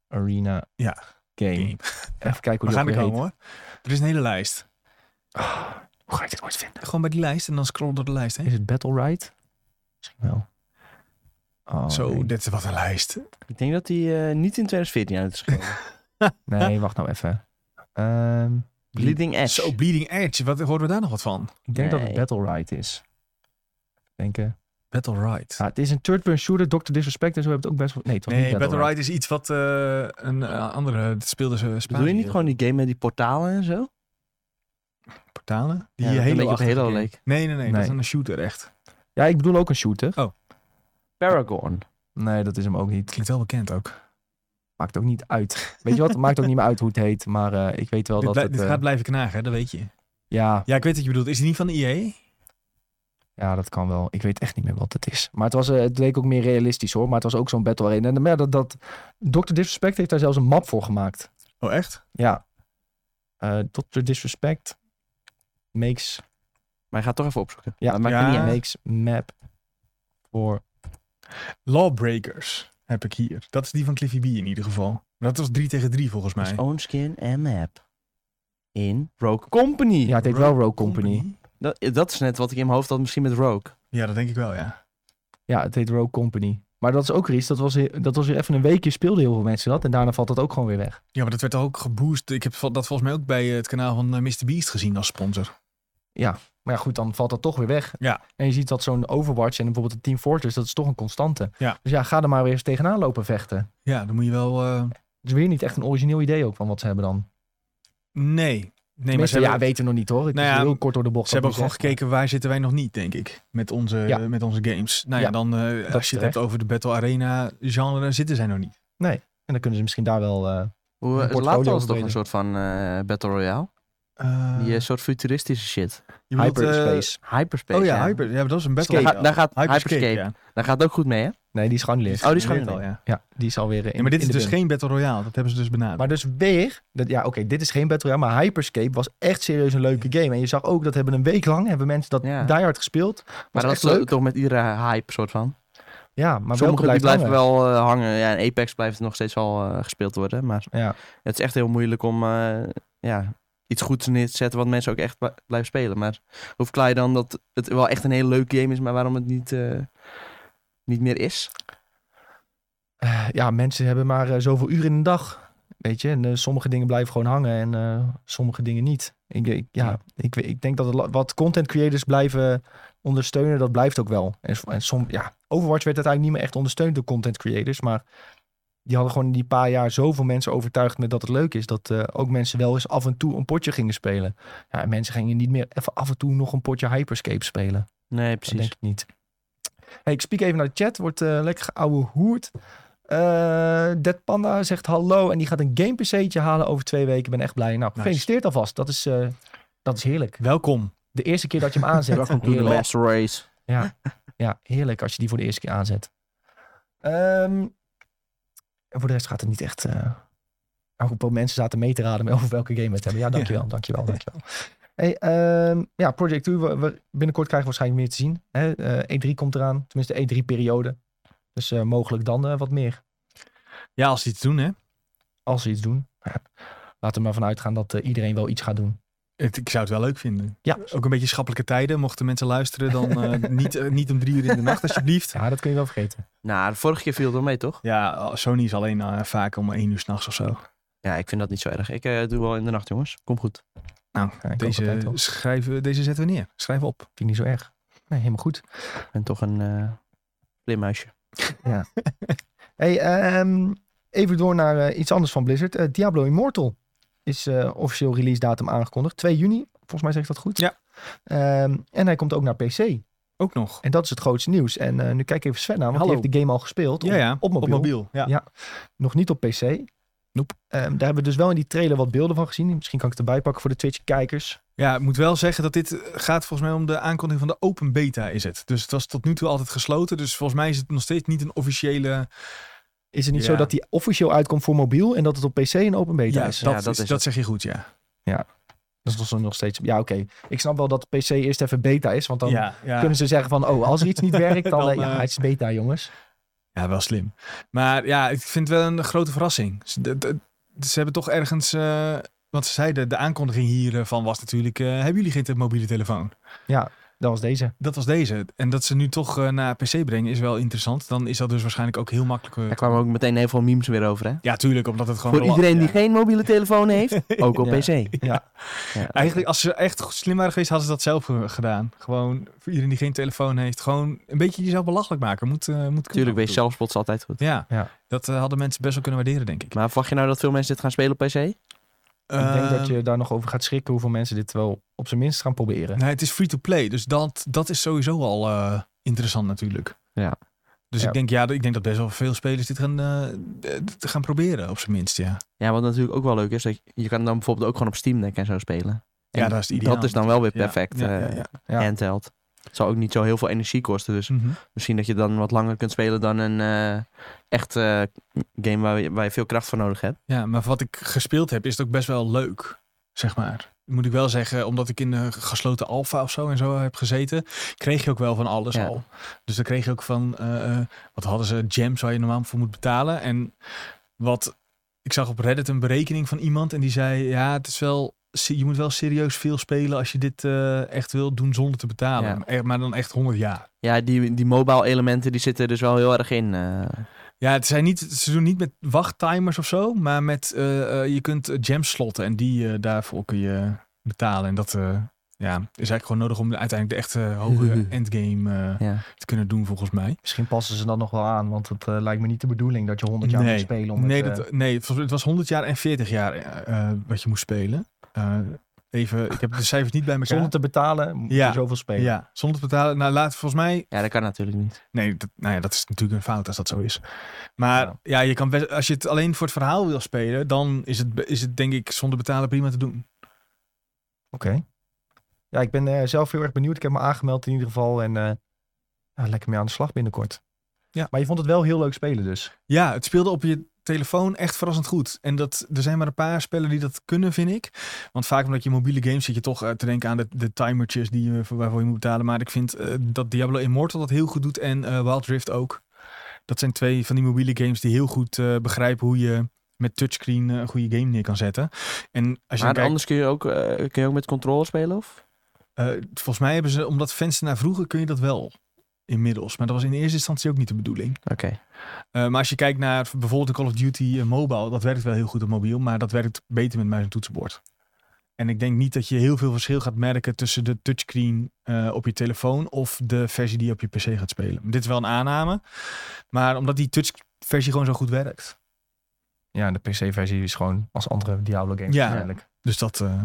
Speaker 1: arena
Speaker 2: Ja,
Speaker 1: game.
Speaker 2: game.
Speaker 1: Even kijken hoe
Speaker 2: We
Speaker 1: die
Speaker 2: gaan
Speaker 1: ook
Speaker 2: er
Speaker 1: weer
Speaker 2: komen
Speaker 1: heet.
Speaker 2: hoor. Er is een hele lijst.
Speaker 1: Ah, hoe ga ik dit ooit vinden?
Speaker 2: Gewoon bij die lijst en dan scroll door de lijst heen.
Speaker 1: Is het Battle Ride? Misschien wel. Oh,
Speaker 2: Zo,
Speaker 1: nee.
Speaker 2: dit is wat een lijst.
Speaker 3: [LAUGHS] Ik denk dat hij eh, niet in 2014 uit is gekomen.
Speaker 1: Nee, wacht nou even. Ehm,
Speaker 3: [LAUGHS] Bleeding Edge.
Speaker 2: Zo, Bleeding Edge. Wat horen we daar nog wat van?
Speaker 1: ik denk dat het
Speaker 3: Nee.
Speaker 1: Battle Ride is. Denken.
Speaker 2: Battle Ride.
Speaker 1: Ja, het is een third-person shooter, Dr. Disrespect en zo hebben het ook best wel... Nee, het was
Speaker 2: Ah, nee,
Speaker 1: niet
Speaker 2: Battle Ride is iets wat eh, een eh, andere. Dat speelde ze. Spanje.
Speaker 3: Bedoel je niet gewoon die game met die portalen en zo?
Speaker 2: portalen?
Speaker 3: Ja, dat een beetje op
Speaker 2: achtige
Speaker 3: Halo
Speaker 2: game.
Speaker 3: leek.
Speaker 2: Nee, nee, nee, Dat
Speaker 1: Nee.
Speaker 2: is een shooter echt.
Speaker 1: Ja, ik bedoel ook een shooter.
Speaker 2: Oh.
Speaker 3: Paragon.
Speaker 1: Nee, dat is hem ook niet.
Speaker 2: Klinkt wel bekend ook.
Speaker 1: Maakt ook niet uit. Weet je wat? Het maakt ook niet meer uit hoe het heet. Maar eh, ik weet wel
Speaker 2: Dit,
Speaker 1: dat
Speaker 2: blij-
Speaker 1: het...
Speaker 2: dit
Speaker 1: eh,
Speaker 2: gaat blijven knagen, hè, dat weet je.
Speaker 1: ja,
Speaker 2: Ja, ik weet wat je bedoelt. Is het niet van E EA?
Speaker 1: ja, dat kan wel. Ik weet echt niet meer wat het is. Maar het, was, eh, het leek ook meer realistisch hoor. Maar het was ook zo'n battle arena. En eh, maar ja, dat, dat, Dr. Disrespect heeft daar zelfs een map voor gemaakt.
Speaker 2: Oh, echt?
Speaker 1: Ja. Eh Dr. Disrespect makes...
Speaker 3: Maar ik ga het toch even opzoeken.
Speaker 1: Ja,
Speaker 3: dat maakt
Speaker 2: ja.
Speaker 3: het niet uit.
Speaker 1: Makes map voor...
Speaker 2: Lawbreakers heb ik hier. Dat is die van Cliffy B in ieder geval. Maar Dat was 3 tegen 3 volgens mij.
Speaker 3: Dus own skin en map. In Rogue Company.
Speaker 1: Ja, het heet wel Rogue Company.
Speaker 3: Dat, dat is net wat ik in mijn hoofd had, misschien met Rogue.
Speaker 2: Ja, dat denk ik wel, ja.
Speaker 1: Ja, het heet Rogue Company. Maar dat is ook iets. Dat was, he- dat was weer even een weekje speelden heel veel mensen dat. En daarna valt dat ook gewoon weer weg.
Speaker 2: Ja, maar dat werd ook geboost. Ik heb vo- dat volgens mij ook bij eh, het kanaal van eh, Mr. Beast gezien als sponsor.
Speaker 1: Maar ja, goed, dan valt dat toch weer weg.
Speaker 2: Ja.
Speaker 1: En je ziet dat zo'n Overwatch en bijvoorbeeld de Team Fortress, dat is toch een constante.
Speaker 2: Ja.
Speaker 1: Dus ja, ga er maar weer eens tegenaan lopen vechten.
Speaker 2: Ja, dan moet je wel... eh,
Speaker 1: Het is weer niet echt een origineel idee ook van wat ze hebben dan.
Speaker 2: Nee. Nee, maar
Speaker 1: Tenminste,
Speaker 2: ze hebben,
Speaker 1: ja, weten we nog niet hoor. Het
Speaker 2: Nou
Speaker 1: is
Speaker 2: ja,
Speaker 1: heel kort door de bocht.
Speaker 2: ze hebben ook
Speaker 1: wat
Speaker 2: gewoon
Speaker 1: ik nu zeg.
Speaker 2: gekeken waar zitten wij nog niet, denk ik. Met onze,
Speaker 1: Ja.
Speaker 2: met onze games. Nou ja,
Speaker 1: Ja,
Speaker 2: dan eh, als
Speaker 1: is
Speaker 2: je het hebt
Speaker 1: terecht.
Speaker 2: over de Battle Arena genre, zitten zij nog niet.
Speaker 1: En dan kunnen ze misschien daar wel... eh,
Speaker 3: Hoe,
Speaker 1: Een
Speaker 3: eh,
Speaker 1: portfolio
Speaker 3: later was het toch een
Speaker 1: opdelen.
Speaker 3: soort van eh, Battle Royale.
Speaker 2: Eh,
Speaker 3: Die eh, soort futuristische shit.
Speaker 2: je bedoelt, eh,
Speaker 1: hyperspace.
Speaker 3: Hyperspace.
Speaker 2: oh ja, Hyper. Ja, maar dat is een Battle
Speaker 3: Daar,
Speaker 1: Skate.
Speaker 3: gaat- daar gaat
Speaker 2: Hyperscape,
Speaker 3: Hyperscape.
Speaker 2: ja.
Speaker 3: Daar gaat het ook goed mee, hè?
Speaker 1: Nee, die is gewoon leeg.
Speaker 3: Oh, die is gewoon
Speaker 2: Weet al,
Speaker 3: leuk.
Speaker 2: ja.
Speaker 1: Ja, die is alweer in
Speaker 2: Ah. ja. Maar dit
Speaker 1: in
Speaker 2: is
Speaker 1: de
Speaker 2: dus
Speaker 1: bin.
Speaker 2: geen Battle Royale. Dat hebben ze dus benaderd.
Speaker 1: Maar dus weer, dat, ja oké, dit is geen Battle Royale, maar Hyperscape was echt serieus een leuke game. En je zag ook, dat hebben een week lang, hebben mensen dat
Speaker 3: Ja.
Speaker 1: diehard gespeeld.
Speaker 3: Maar dat is
Speaker 1: echt leuk.
Speaker 3: toch met iedere hype soort van.
Speaker 1: Ja, maar welke
Speaker 3: Sommige die
Speaker 1: blijft
Speaker 3: blijven
Speaker 1: blijven
Speaker 3: wel eh, hangen. Ja, en Apex blijft nog steeds wel eh, gespeeld worden. Maar
Speaker 1: Ja.
Speaker 3: het is echt heel moeilijk om eh, ja, iets goeds neer te zetten wat mensen ook echt bl- blijven spelen. Maar hoe verklaar je dan dat het wel echt een hele leuke game is, maar waarom het niet, eh, niet meer is?
Speaker 1: Eh, ja, mensen hebben maar eh, zoveel uren in een dag. Weet je, en eh, sommige dingen blijven gewoon hangen en eh, sommige dingen niet. Ik, ik- ja,
Speaker 3: Ja.
Speaker 1: Ik, we- ik denk dat het la- wat content creators blijven ondersteunen, dat blijft ook wel. En, s- en som, ja, Overwatch werd uiteindelijk niet meer echt ondersteund door content creators, maar die hadden gewoon in die paar jaar zoveel mensen overtuigd met dat het leuk is, dat eh, ook mensen wel eens af en toe een potje gingen spelen. Ja, en mensen gingen niet meer even af en toe nog een potje Hyperscape spelen.
Speaker 3: Nee,
Speaker 1: Dat denk ik niet. Hey, ik spiek even naar de chat. Wordt eh, lekker geouwe hoerd. Eh Dead Panda zegt hallo. En die gaat een game PC'tje halen over twee weken. Ik ben echt blij. Nou,
Speaker 2: Nice.
Speaker 1: gefeliciteerd alvast. Dat is, eh, dat is heerlijk.
Speaker 2: Welkom.
Speaker 1: De eerste keer dat je hem aanzet.
Speaker 3: [LAUGHS] Welkom to the
Speaker 1: heerlijk.
Speaker 3: last race.
Speaker 1: Ja, heerlijk als je die voor de eerste keer aanzet. Ehm, en voor de rest gaat het niet echt... eh nou goed, mensen zaten mee te raden [LAUGHS] over welke game we het hebben. Ja, dankjewel, dankjewel, dankjewel. Hey, ehm, ja, Project U, we, we- binnenkort krijgen we waarschijnlijk meer te zien. Hè? Eh, E3 komt eraan, tenminste E3-periode. Dus eh, mogelijk dan eh, wat meer,
Speaker 2: Ja, als ze iets doen, hè.
Speaker 1: als ze iets doen. Ja, Laten we maar vanuit gaan dat eh, iedereen wel iets gaat doen.
Speaker 2: Het- ik zou het wel leuk vinden.
Speaker 1: Ja.
Speaker 2: Ook een beetje schappelijke tijden. Mochten mensen luisteren,
Speaker 1: [LAUGHS]
Speaker 2: dan eh, niet, eh, niet om drie uur in de nacht, alsjeblieft.
Speaker 1: Ja, dat kun je wel vergeten.
Speaker 3: Nou, de vorige keer viel het wel mee, toch?
Speaker 2: Ja, Sony is alleen eh, vaak om één uur s'nachts of zo.
Speaker 3: Ja, ik vind dat niet zo erg. Ik eh, doe wel in de nacht, jongens. Kom goed.
Speaker 2: Nou,
Speaker 1: Ja, ik hoop dat
Speaker 2: deze,
Speaker 1: wel.
Speaker 2: schrijven, deze zetten we neer. Schrijf op.
Speaker 1: Vind ik niet zo erg. Nee, helemaal goed.
Speaker 3: Ik ben toch een eh slim muisje.
Speaker 1: Hey, ehm, even door naar eh, iets anders van Blizzard. Eh, Diablo Immortal is eh, officieel release datum aangekondigd. 2 juni, volgens mij zeg ik dat goed.
Speaker 2: Ja.
Speaker 1: Ehm, en hij komt ook naar PC.
Speaker 2: Ook nog.
Speaker 1: En dat is het grootste nieuws. En eh, nu kijk ik even Sven aan, want
Speaker 2: Hallo.
Speaker 1: die heeft de game al gespeeld.
Speaker 2: Ja, ja.
Speaker 1: Op, op mobiel.
Speaker 2: Ja.
Speaker 1: Ja. Nog niet op PC.
Speaker 2: Nope.
Speaker 1: Ehm, daar hebben we dus wel in die trailer wat beelden van gezien. Misschien kan ik het erbij pakken voor de Twitch-kijkers.
Speaker 2: ja, ik moet wel zeggen dat dit eh, gaat volgens mij om de aankondiging van de open beta is het. Dus het was tot nu toe altijd gesloten. Dus volgens mij is het nog steeds niet een officiële...
Speaker 1: Is het niet
Speaker 2: Ja.
Speaker 1: zo dat die officieel uitkomt voor mobiel en dat het op PC een open beta is?
Speaker 2: dat,
Speaker 3: Ja, dat
Speaker 2: is, dat
Speaker 3: is het.
Speaker 2: zeg je goed, ja.
Speaker 1: Dat is nog steeds. Ja, oké. Ik snap wel dat PC eerst even beta is, want dan
Speaker 2: ja, ja.
Speaker 1: kunnen ze zeggen van, oh, als er iets niet
Speaker 2: [LAUGHS]
Speaker 1: werkt, dan,
Speaker 2: Dan,
Speaker 1: eh, ja,
Speaker 2: eh,
Speaker 1: het is beta, jongens.
Speaker 2: Ja, wel slim. Maar ja, ik vind het wel een grote verrassing. Ze, de- de- ze hebben toch ergens... eh want ze zeiden, de aankondiging hiervan was natuurlijk... eh, hebben jullie geen te- mobiele telefoon?
Speaker 1: Dat was deze.
Speaker 2: Dat was deze. En dat ze nu toch eh, naar PC brengen is wel interessant. Dan is dat dus waarschijnlijk ook heel makkelijk. eh,
Speaker 3: Daar kwamen ook meteen heel veel memes weer over, hè?
Speaker 2: Ja, tuurlijk, omdat het gewoon...
Speaker 3: Voor iedereen die geen mobiele telefoon [LAUGHS] heeft, ook op
Speaker 1: Ja.
Speaker 3: PC.
Speaker 1: Ja.
Speaker 3: Ja.
Speaker 2: Eigenlijk, als ze echt goed- slim waren geweest, hadden ze dat zelf ge- gedaan. Gewoon, voor iedereen die geen telefoon heeft, gewoon een beetje jezelf belachelijk maken. Moet, eh moet kunnen.
Speaker 3: Tuurlijk, wees zelfspot is altijd goed.
Speaker 2: Ja,
Speaker 1: Ja.
Speaker 2: dat eh, hadden mensen best wel kunnen waarderen, denk ik.
Speaker 3: Maar verwacht je nou dat veel mensen dit gaan spelen op PC?
Speaker 1: ik denk dat
Speaker 2: Ehm,
Speaker 1: je daar nog over gaat schrikken hoeveel mensen dit wel op zijn minst gaan proberen.
Speaker 2: Nee, het is free-to-play, dus dat, dat is sowieso al eh, interessant natuurlijk.
Speaker 3: Ja.
Speaker 2: Dus
Speaker 1: Ja.
Speaker 2: ik, denk, ja, ik denk dat best wel veel spelers dit gaan, eh, dit gaan proberen, op zijn minst, ja.
Speaker 3: Ja, wat natuurlijk ook wel leuk is, dat je- je kan dan bijvoorbeeld ook gewoon op Steam Deck en zo spelen. En
Speaker 2: Ja, dat is het ideaal.
Speaker 3: Dat is dan wel weer
Speaker 2: Ja,
Speaker 3: perfect,
Speaker 2: ja, ja,
Speaker 3: eh,
Speaker 2: ja.
Speaker 1: Ja.
Speaker 3: handheld. Het zal ook niet zo heel veel energie kosten, dus
Speaker 2: Mhm.
Speaker 3: misschien dat je dan wat langer kunt spelen dan een eh, echt eh, game waar je, waar je veel kracht voor nodig hebt.
Speaker 2: Ja, maar wat ik gespeeld heb, is het ook best wel leuk, zeg maar. Moet ik wel zeggen, omdat ik in de gesloten alfa of zo en zo heb gezeten, kreeg je ook wel van alles
Speaker 3: Ja.
Speaker 2: al. Dus dan kreeg je ook van, eh, eh, wat hadden ze, gems waar je normaal voor moet betalen. En wat, ik zag op Reddit een berekening van iemand en die zei, ja, het is wel, je moet wel serieus veel spelen als je dit eh, echt wil doen zonder te betalen.
Speaker 3: Ja.
Speaker 2: Eh, Maar dan echt 100 jaar.
Speaker 3: Ja, die, die mobile elementen die zitten er dus wel heel erg in. eh.
Speaker 2: Ja, het zijn niet, ze doen niet met wachttimers of zo, maar met, eh, eh, je kunt eh, gems slotten en die eh, daarvoor kun je betalen. En dat eh, ja, is eigenlijk gewoon nodig om uiteindelijk de echte eh,
Speaker 1: [LAUGHS]
Speaker 2: hoge endgame eh,
Speaker 3: ja.
Speaker 2: te kunnen doen, volgens mij.
Speaker 1: Misschien passen ze dat nog wel aan, want het eh, lijkt me niet de bedoeling dat je 100 jaar
Speaker 2: Nee.
Speaker 1: moet spelen. Om
Speaker 2: Nee,
Speaker 1: het, eh,
Speaker 2: dat, nee, het was- het was 100 jaar en 40 jaar eh, eh, wat je moest spelen. Eh, even, ik heb de cijfers niet bij elkaar.
Speaker 1: zonder te betalen moet
Speaker 2: Ja.
Speaker 1: je zoveel spelen.
Speaker 2: ja, zonder te betalen. Nou, laat volgens mij
Speaker 3: ja, dat kan natuurlijk niet.
Speaker 2: Nee, dat, nou ja, dat is natuurlijk een fout als dat zo is. Maar ja,
Speaker 1: Ja.
Speaker 2: je kan best, als je het alleen voor het verhaal wil spelen, dan is het, is het denk ik zonder betalen prima te doen.
Speaker 1: Oké. Ja, ik ben eh, zelf heel erg benieuwd. Ik heb me aangemeld in ieder geval en eh, nou, lekker mee aan de slag binnenkort.
Speaker 2: Ja.
Speaker 1: Maar je vond het wel heel leuk spelen dus.
Speaker 2: Ja, het speelde op je telefoon echt verrassend goed. En dat, er zijn maar een paar spellen die dat kunnen, vind ik. Want vaak omdat je mobiele games zit je toch eh, te denken aan de, de timertjes die je, voor- waarvoor je moet betalen. Maar ik vind eh, dat Diablo Immortal dat heel goed doet en eh, Wild Rift ook. Dat zijn twee van die mobiele games die heel goed eh, begrijpen hoe je met touchscreen eh, een goede game neer kan zetten. En als je dan
Speaker 3: Maar
Speaker 2: kijkt-
Speaker 3: anders kun je, ook, eh, kun je ook met controller spelen, of?
Speaker 2: Eh, volgens mij hebben ze, omdat fans naar vroegen, kun je dat wel inmiddels. Maar dat was in eerste instantie ook niet de bedoeling.
Speaker 3: Oké.
Speaker 2: Eh, maar als je kijkt naar bijvoorbeeld de Call of Duty eh, mobile, dat werkt wel heel goed op mobiel, maar dat werkt beter met muis en toetsenbord. En ik denk niet dat je heel veel verschil gaat merken tussen de touchscreen eh, op je telefoon of de versie die je op je PC gaat spelen. Dit is wel een aanname, maar omdat die touchversie gewoon zo goed werkt.
Speaker 1: Ja, en de PC-versie is gewoon als andere Diablo games
Speaker 2: Ja.
Speaker 1: waarschijnlijk.
Speaker 2: Dus dat eh,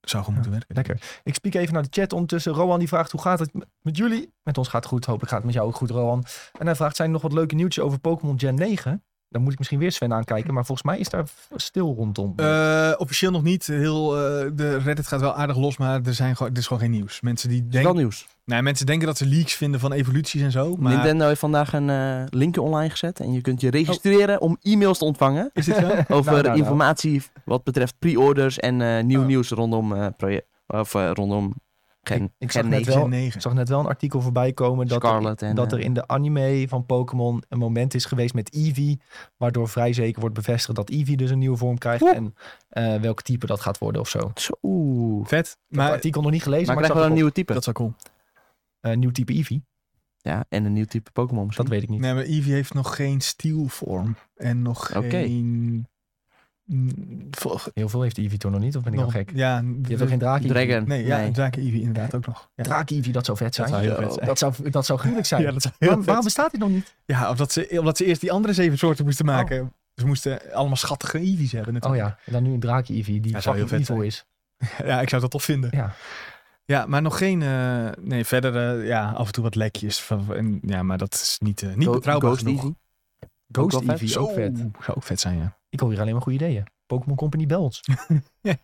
Speaker 2: zou gewoon moeten werken.
Speaker 1: Lekker. Ik spiek even naar de chat ondertussen. Rowan die vraagt, hoe gaat het m- met jullie? Met ons gaat het goed. Hopelijk gaat het met jou ook goed, Rowan. En hij vraagt, zijn er nog wat leuke nieuwtjes over Pokémon Gen 9? Dan moet ik misschien weer Sven aankijken. Maar volgens mij is daar v- stil rondom.
Speaker 2: Eh, officieel nog niet. Heel, eh, de Reddit gaat wel aardig los, maar er, zijn gewoon, er is gewoon geen nieuws. Mensen, die
Speaker 3: Is
Speaker 2: denken,
Speaker 3: wel nieuws.
Speaker 2: nou, mensen denken dat ze leaks vinden van evoluties en zo. Maar Oh.
Speaker 3: Nintendo heeft vandaag een eh, linkje online gezet. En je kunt je registreren om e-mails te ontvangen.
Speaker 2: is dit zo?
Speaker 1: [LAUGHS]
Speaker 3: Over
Speaker 1: nou, nou.
Speaker 3: informatie wat betreft pre-orders en eh, nieuw
Speaker 2: Oh.
Speaker 3: nieuws rondom, eh proje- of, eh, rondom Gen,
Speaker 1: Ik- ik zag
Speaker 3: gen
Speaker 1: net
Speaker 3: 9.
Speaker 1: wel-
Speaker 2: Gen 9.
Speaker 1: Ik zag net wel een artikel voorbij komen dat, er,
Speaker 3: Scarlet en,
Speaker 1: dat
Speaker 3: eh,
Speaker 1: er in de anime van Pokémon een moment is geweest met Eevee. Waardoor vrij zeker wordt bevestigd dat Eevee dus een nieuwe vorm krijgt.
Speaker 3: Oeh.
Speaker 1: En eh, welk type dat gaat worden of zo. Ik
Speaker 3: Zo, Oeh.
Speaker 2: Vet.
Speaker 1: heb het
Speaker 2: Maar
Speaker 1: artikel nog niet gelezen,
Speaker 3: Maar
Speaker 1: maar,
Speaker 3: krijgen
Speaker 1: ik
Speaker 3: we
Speaker 1: zag een
Speaker 3: een
Speaker 1: nieuw...
Speaker 3: nieuwe type?
Speaker 2: dat is wel cool.
Speaker 1: nieuw type Eevee.
Speaker 3: Ja, en een nieuw type Pokémon misschien.
Speaker 1: Dat weet ik niet.
Speaker 2: Nee, maar Eevee heeft nog geen steelvorm. En nog
Speaker 3: Oké.
Speaker 2: geen mm, volg-
Speaker 1: Heel veel heeft de Eevee toch nog niet, of ben ik
Speaker 2: nog-
Speaker 1: al gek? Je
Speaker 2: Ja,
Speaker 1: hebt toch geen draak-Eevee?
Speaker 3: Dragon.
Speaker 2: Nee, ja,
Speaker 3: Nee.
Speaker 2: een draak Eevee inderdaad ook nog. Ja,
Speaker 1: Draak-Eevee, dat zou vet
Speaker 2: dat
Speaker 1: zijn.
Speaker 2: zou heel vet zijn.
Speaker 1: Dat zou, dat zou gruwelijk zijn.
Speaker 2: Ja, dat zou heel
Speaker 1: waarom,
Speaker 2: vet
Speaker 1: waarom bestaat dit nog niet?
Speaker 2: Ja, omdat ze, omdat ze eerst die andere zeven soorten moesten maken. Ze moesten allemaal schattige Eevees hebben
Speaker 1: Oh
Speaker 2: natuurlijk.
Speaker 1: ja, en dan nu een draak-Eevee die
Speaker 2: Ja, zou heel
Speaker 1: fucking
Speaker 2: vet
Speaker 1: evil is.
Speaker 2: ja. ik zou dat tof vinden.
Speaker 1: Ja.
Speaker 2: Ja, maar nog geen... eh, nee, verder eh, ja, af en toe wat lekjes. Van, en, ja, maar dat is niet, eh, niet
Speaker 3: Go-
Speaker 2: betrouwbaar
Speaker 3: Ghost
Speaker 2: genoeg.
Speaker 3: Eevee.
Speaker 1: Ghost
Speaker 3: Ook wel vet.
Speaker 1: Eevee, ook vet.
Speaker 2: Zo, Zou ook vet zijn, ja.
Speaker 1: Ik hoor hier alleen maar goede ideeën. Pokémon Company bel
Speaker 2: [LAUGHS]
Speaker 1: ons. Hey,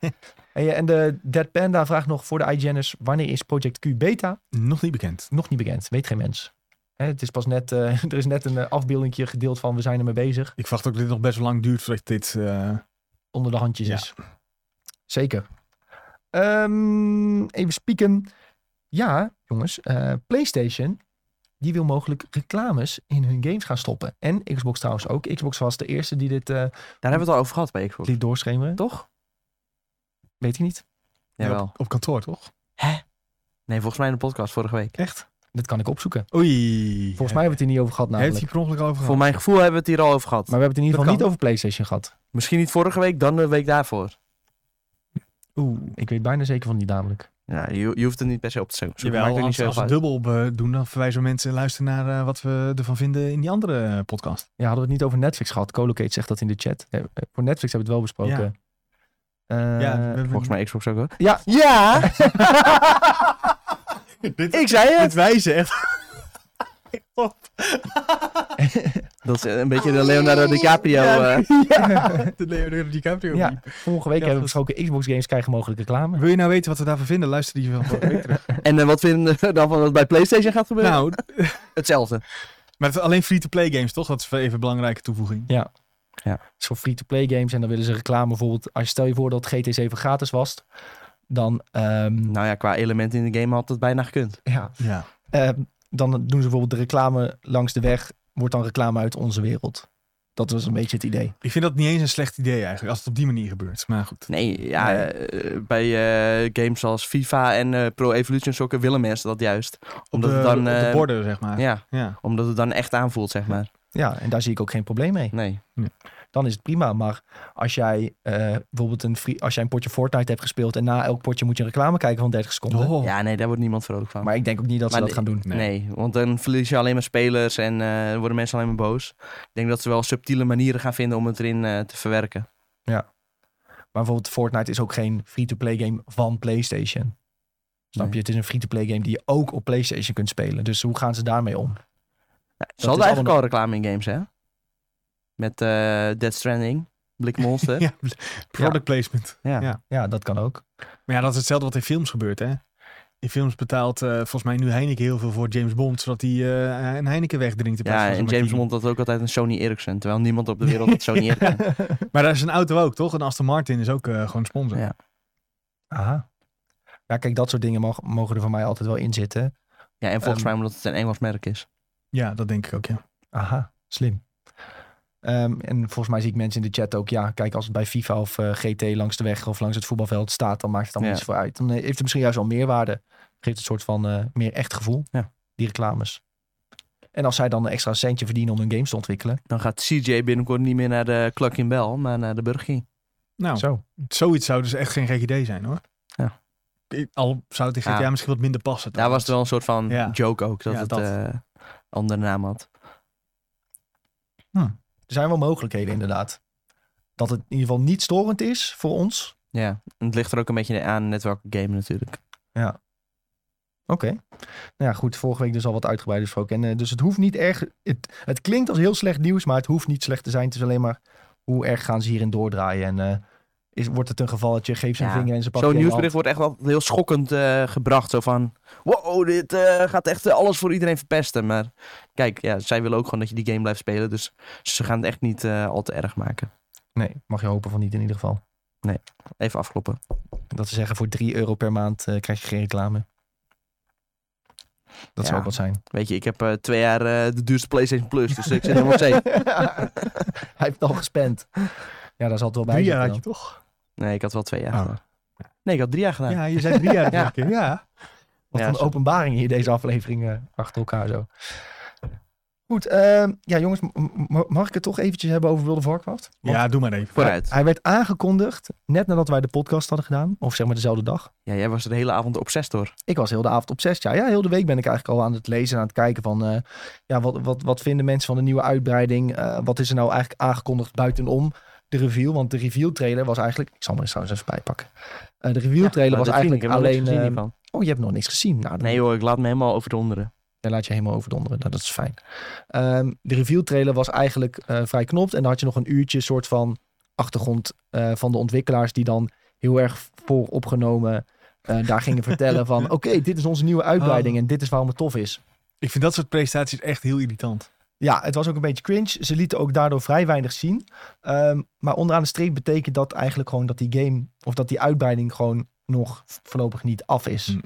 Speaker 1: eh, en de Dead Panda vraagt nog voor de IGN'ers... wanneer is Project Q beta?
Speaker 2: Nog niet bekend.
Speaker 1: Nog niet bekend. Weet geen mens. Hè, het is pas net... eh, [LAUGHS] er is net een eh, afbeeldingje gedeeld van... we zijn ermee bezig.
Speaker 2: Ik verwacht ook dat dit nog best wel lang duurt voordat dit... eh,
Speaker 1: Onder de handjes
Speaker 2: Ja.
Speaker 1: is. Zeker. Ehm, even spieken. Ja, jongens. eh, PlayStation... die wil mogelijk reclames in hun games gaan stoppen. En Xbox trouwens ook. Xbox was de eerste die dit eh,
Speaker 3: Daar hebben we het al over gehad bij Xbox.
Speaker 1: liet doorschemeren.
Speaker 3: Toch?
Speaker 1: Weet ik niet.
Speaker 3: Jawel.
Speaker 2: op, op kantoor, toch?
Speaker 3: Nee, volgens mij in de podcast vorige week.
Speaker 2: Echt?
Speaker 1: Dat kan ik opzoeken.
Speaker 2: Oei.
Speaker 1: Volgens mij hebben we het er niet over gehad
Speaker 2: Hij heeft
Speaker 1: namelijk.
Speaker 2: hier per ongeluk al over
Speaker 3: Voor
Speaker 2: gehad.
Speaker 3: mijn gevoel hebben we het hier al over gehad.
Speaker 1: Maar we hebben het in ieder
Speaker 2: Dat
Speaker 1: geval
Speaker 2: kan.
Speaker 1: niet over PlayStation gehad.
Speaker 3: Misschien niet vorige week, dan de week daarvoor.
Speaker 2: Oeh.
Speaker 1: Ik weet bijna zeker van die namelijk.
Speaker 3: Ja, je, je hoeft het niet per se op te zoeken.
Speaker 2: Jawel,
Speaker 3: Maakt ook niet
Speaker 2: als,
Speaker 3: zo
Speaker 2: als we
Speaker 3: heel
Speaker 2: het
Speaker 3: veel uit.
Speaker 2: dubbel eh, doen, dan verwijzen we mensen luisteren naar eh, wat we ervan vinden in die andere eh, podcast.
Speaker 1: Ja, hadden we het niet over Netflix gehad. Colocate zegt dat in de chat. Eh, eh, Voor Netflix hebben we het wel besproken. Eh,
Speaker 2: we hebben-
Speaker 3: Volgens mij Xbox ook hoor.
Speaker 1: Ja.
Speaker 3: Ja!
Speaker 2: [LAUGHS] dit,
Speaker 3: ik zei het!
Speaker 2: dit wijzen echt. [LAUGHS]
Speaker 3: Dat is een beetje de Leonardo DiCaprio.
Speaker 2: Ja.
Speaker 3: eh.
Speaker 2: De Leonardo DiCaprio.
Speaker 1: Ja, vorige week
Speaker 2: Ja,
Speaker 1: hebben we
Speaker 2: goed.
Speaker 1: besproken Xbox games krijgen mogelijk reclame.
Speaker 2: Wil je nou weten wat we daarvan vinden? Luister
Speaker 3: [LAUGHS]
Speaker 2: die van vorige week terug.
Speaker 3: En eh, wat vinden we dan van wat bij PlayStation gaat gebeuren?
Speaker 2: Nou,
Speaker 3: Hetzelfde.
Speaker 2: maar het, alleen free-to-play games, toch? Dat is even een belangrijke toevoeging.
Speaker 1: Het is voor free-to-play games en dan willen ze reclame bijvoorbeeld. Als je stel je voor dat GT 7 gratis was, dan, ehm,
Speaker 3: Nou ja, qua elementen in de game had dat bijna gekund.
Speaker 1: ja,
Speaker 2: Ja.
Speaker 1: ehm, dan doen ze bijvoorbeeld de reclame langs de weg. Wordt dan reclame uit onze wereld. Dat was een beetje het idee.
Speaker 2: Ik vind dat niet eens een slecht idee eigenlijk, als het op die manier gebeurt. Maar goed.
Speaker 3: Nee, ja, eh, bij eh, games zoals FIFA en eh, Pro Evolution Soccer willen mensen dat juist. Omdat
Speaker 2: op de,
Speaker 3: het dan...
Speaker 2: op de
Speaker 3: eh,
Speaker 2: borden, zeg maar. Ja.
Speaker 3: Ja, omdat het dan echt aanvoelt, zeg maar.
Speaker 1: Ja, en daar zie ik ook geen probleem mee.
Speaker 3: Nee.
Speaker 1: dan is het prima. Maar als jij eh, bijvoorbeeld een, free, als jij een potje Fortnite hebt gespeeld en na elk potje moet je een reclame kijken van 30 seconden.
Speaker 2: Oh.
Speaker 3: Ja, nee, daar wordt niemand vrolijk van.
Speaker 1: Maar ik denk ook niet dat ze
Speaker 3: Maar
Speaker 1: dat gaan doen.
Speaker 2: Nee.
Speaker 3: nee. want dan verlies je alleen maar spelers en eh, worden mensen alleen maar boos. Ik denk dat ze wel subtiele manieren gaan vinden om het erin eh, te verwerken.
Speaker 1: Maar bijvoorbeeld Fortnite is ook geen free-to-play game van PlayStation. Snap je?
Speaker 3: Nee.
Speaker 1: Het is een free-to-play game die je ook op PlayStation kunt spelen. Dus hoe gaan ze daarmee om?
Speaker 3: Nou,
Speaker 1: is
Speaker 3: ze hadden eigenlijk
Speaker 1: allemaal-
Speaker 3: al reclame in games, hè? Met eh Dead Stranding, Blik Monster.
Speaker 2: [LAUGHS] Ja, Product placement.
Speaker 3: Ja.
Speaker 2: Ja.
Speaker 1: Ja, dat kan ook.
Speaker 2: Maar ja, dat is hetzelfde wat in films gebeurt, hè? In films betaalt eh, volgens mij nu Heineken heel veel voor James Bond, zodat hij eh, een Heineken wegdrinkt. in plaats
Speaker 3: Ja,
Speaker 2: van
Speaker 3: en
Speaker 2: zo'n
Speaker 3: James
Speaker 2: martini.
Speaker 3: Bond had ook altijd een Sony Ericsson. Terwijl niemand op de wereld had Sony Ericsson.
Speaker 2: [LAUGHS] Maar daar is een auto ook, toch? Een Aston Martin is ook eh, gewoon sponsor.
Speaker 3: Ja.
Speaker 1: Aha. Ja, kijk, dat soort dingen mag- mogen er van mij altijd wel in zitten.
Speaker 3: Ja, en volgens
Speaker 1: Ehm.
Speaker 3: mij omdat het een Engels merk is.
Speaker 2: Ja, dat denk ik ook, ja.
Speaker 1: Aha, slim. Ehm, en volgens mij zie ik mensen in de chat ook, ja, kijk, als het bij FIFA of eh, GT langs de weg of langs het voetbalveld staat, dan maakt het allemaal
Speaker 3: Ja.
Speaker 1: niets voor uit. Dan eh, heeft het misschien juist wel meerwaarde. Geeft het een soort van eh, meer echt gevoel,
Speaker 3: Ja.
Speaker 1: die reclames. En als zij dan een extra centje verdienen om hun games te ontwikkelen.
Speaker 3: Dan gaat CJ binnenkort niet meer naar de Cluck in Bell, maar naar de Burger King.
Speaker 2: Nou,
Speaker 1: Zo.
Speaker 2: zoiets zou dus echt geen gek idee zijn, hoor.
Speaker 3: Ja.
Speaker 2: Ik- Al zou het in GTA
Speaker 3: Ja.
Speaker 2: misschien wat minder passen.
Speaker 3: Daar was het wel een soort van
Speaker 2: Ja.
Speaker 3: joke ook, dat
Speaker 2: Ja,
Speaker 3: het
Speaker 2: dat.
Speaker 3: eh, andere naam had.
Speaker 1: Er zijn wel mogelijkheden inderdaad. Dat het in ieder geval niet storend is voor ons.
Speaker 3: Ja, en het ligt er ook een beetje aan net welke game natuurlijk.
Speaker 1: Oké. Nou ja, goed. Vorige week dus al wat uitgebreid besproken. En, eh, dus het hoeft niet erg... Het, het klinkt als heel slecht nieuws, maar het hoeft niet slecht te zijn. Het is alleen maar hoe erg gaan ze hierin doordraaien. En eh, is, wordt het een geval dat je geeft zijn
Speaker 3: Ja,
Speaker 1: vinger en ze pakken
Speaker 3: Zo'n
Speaker 1: je
Speaker 3: nieuwsbericht
Speaker 1: hand?
Speaker 3: wordt echt wel heel schokkend eh, gebracht. Zo van, wow, dit eh, gaat echt alles voor iedereen verpesten. Maar kijk, ja, zij willen ook gewoon dat je die game blijft spelen. Dus ze gaan het echt niet eh, al te erg maken.
Speaker 1: Nee, mag je hopen van niet in ieder geval.
Speaker 3: Even afkloppen.
Speaker 1: Dat ze zeggen voor 3 euro per maand eh, krijg je geen reclame. Dat zou
Speaker 3: Ja.
Speaker 1: ook wat zijn.
Speaker 3: Weet je, ik heb eh, twee jaar eh, de duurste PlayStation Plus. Dus
Speaker 1: [LAUGHS]
Speaker 3: ik zit helemaal safe.
Speaker 1: Hij heeft het al gespend. Ja, daar zal het wel bij
Speaker 2: Drie jaar
Speaker 1: zitten
Speaker 2: had
Speaker 1: dan.
Speaker 2: je toch?
Speaker 3: Nee, ik had wel twee jaar
Speaker 2: Oh.
Speaker 1: Ah.
Speaker 3: gedaan. Nee, ik had drie jaar gedaan.
Speaker 2: Ja, je zei drie jaar. ja. ja.
Speaker 1: Wat
Speaker 3: Ja,
Speaker 1: een
Speaker 3: zo-
Speaker 1: openbaring hier deze aflevering eh, achter elkaar zo. Goed, ehm, ja jongens, m- m- mag ik het toch eventjes hebben over World of Warcraft? Want
Speaker 2: Ja, doe maar even.
Speaker 3: Vooruit.
Speaker 1: Hij werd aangekondigd net nadat wij de podcast hadden gedaan, of zeg maar dezelfde dag.
Speaker 3: Ja, jij was de hele avond obsessed door.
Speaker 1: Ik was heel de avond op zes jaar. Ja, heel de week ben ik eigenlijk al aan het lezen en aan het kijken van... eh, ja, wat, wat, wat vinden mensen van de nieuwe uitbreiding? Eh, wat is er nou eigenlijk aangekondigd buitenom de reveal? Want de reveal trailer was eigenlijk... Ik zal me er trouwens even bijpakken. Eh, de reveal trailer was eigenlijk alleen... eh, oh, je hebt nog niks gezien. Nou,
Speaker 3: Nee hoor, ik laat me helemaal overdonderen.
Speaker 1: Daar laat je helemaal overdonderen. Nou, dat is fijn. Ehm, de reveal trailer was eigenlijk eh, vrij knopt. En dan had je nog een uurtje soort van achtergrond eh, van de ontwikkelaars. Die dan heel erg vooropgenomen eh, daar gingen vertellen van... Oké, dit is onze nieuwe uitbreiding. En dit is waarom het tof is.
Speaker 2: Ik vind dat soort presentaties echt heel irritant.
Speaker 1: Ja, het was ook een beetje cringe. Ze lieten ook daardoor vrij weinig zien. Ehm, maar onderaan de streep betekent dat eigenlijk gewoon dat die game... of dat die uitbreiding gewoon nog voorlopig niet af is.
Speaker 2: Hm.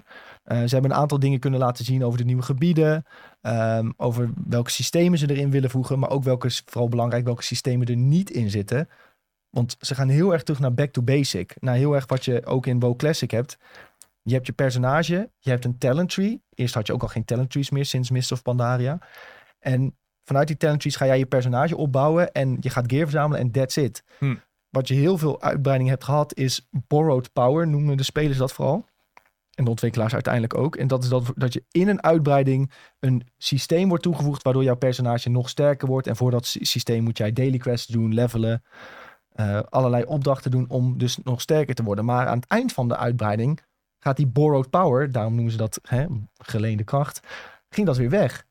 Speaker 1: Eh, ze hebben een aantal dingen kunnen laten zien over de nieuwe gebieden... ehm, over welke systemen ze erin willen voegen... maar ook welke, s- vooral belangrijk, welke systemen er niet in zitten. Want ze gaan heel erg terug naar back to basic. Naar heel erg wat je ook in WoW Classic hebt... Je hebt je personage, je hebt een talent tree. Eerst had je ook al geen talent trees meer sinds Mist of Pandaria. En vanuit die talent trees ga jij je personage opbouwen en je gaat gear verzamelen en that's it.
Speaker 2: Hm.
Speaker 1: Wat je heel veel uitbreiding hebt gehad is borrowed power, noemen de spelers dat vooral. En de ontwikkelaars uiteindelijk ook. En dat is dat, dat je in een uitbreiding een systeem wordt toegevoegd waardoor jouw personage nog sterker wordt. En voor dat sy- systeem moet jij daily quests doen, levelen, eh, allerlei opdrachten doen om dus nog sterker te worden. Maar aan het eind van de uitbreiding gaat die borrowed power, daarom noemen ze dat hè, geleende kracht, ging dat weer weg.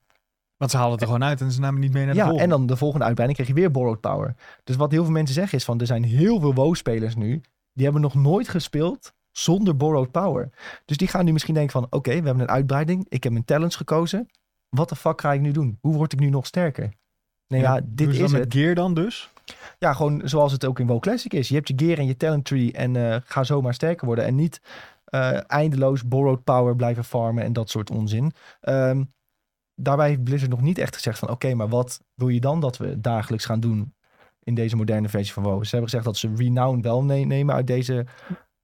Speaker 2: Want ze halen het er gewoon uit en ze namen niet mee naar de
Speaker 1: Ja, en
Speaker 2: volgende.
Speaker 1: dan de volgende uitbreiding kreeg je weer Borrowed Power. Dus wat heel veel mensen zeggen is van, er zijn heel veel WoW-spelers nu, die hebben nog nooit gespeeld zonder Borrowed Power. Dus die gaan nu misschien denken van, oké, we hebben een uitbreiding, ik heb mijn talents gekozen, wat de fuck ga ik nu doen? Hoe word ik nu nog sterker? Nee, ja, dit
Speaker 2: Doen ze dan
Speaker 1: is
Speaker 2: met
Speaker 1: het.
Speaker 2: gear dan dus?
Speaker 1: Ja, gewoon zoals het ook in WoW Classic is. Je hebt je gear en je talent tree en eh, ga zomaar sterker worden. En niet eh, eindeloos borrowed power blijven farmen en dat soort onzin. Ehm, daarbij heeft Blizzard nog niet echt gezegd van... oké, maar wat wil je dan dat we dagelijks gaan doen in deze moderne versie van WoW? Ze hebben gezegd dat ze Renown wel ne- nemen uit deze...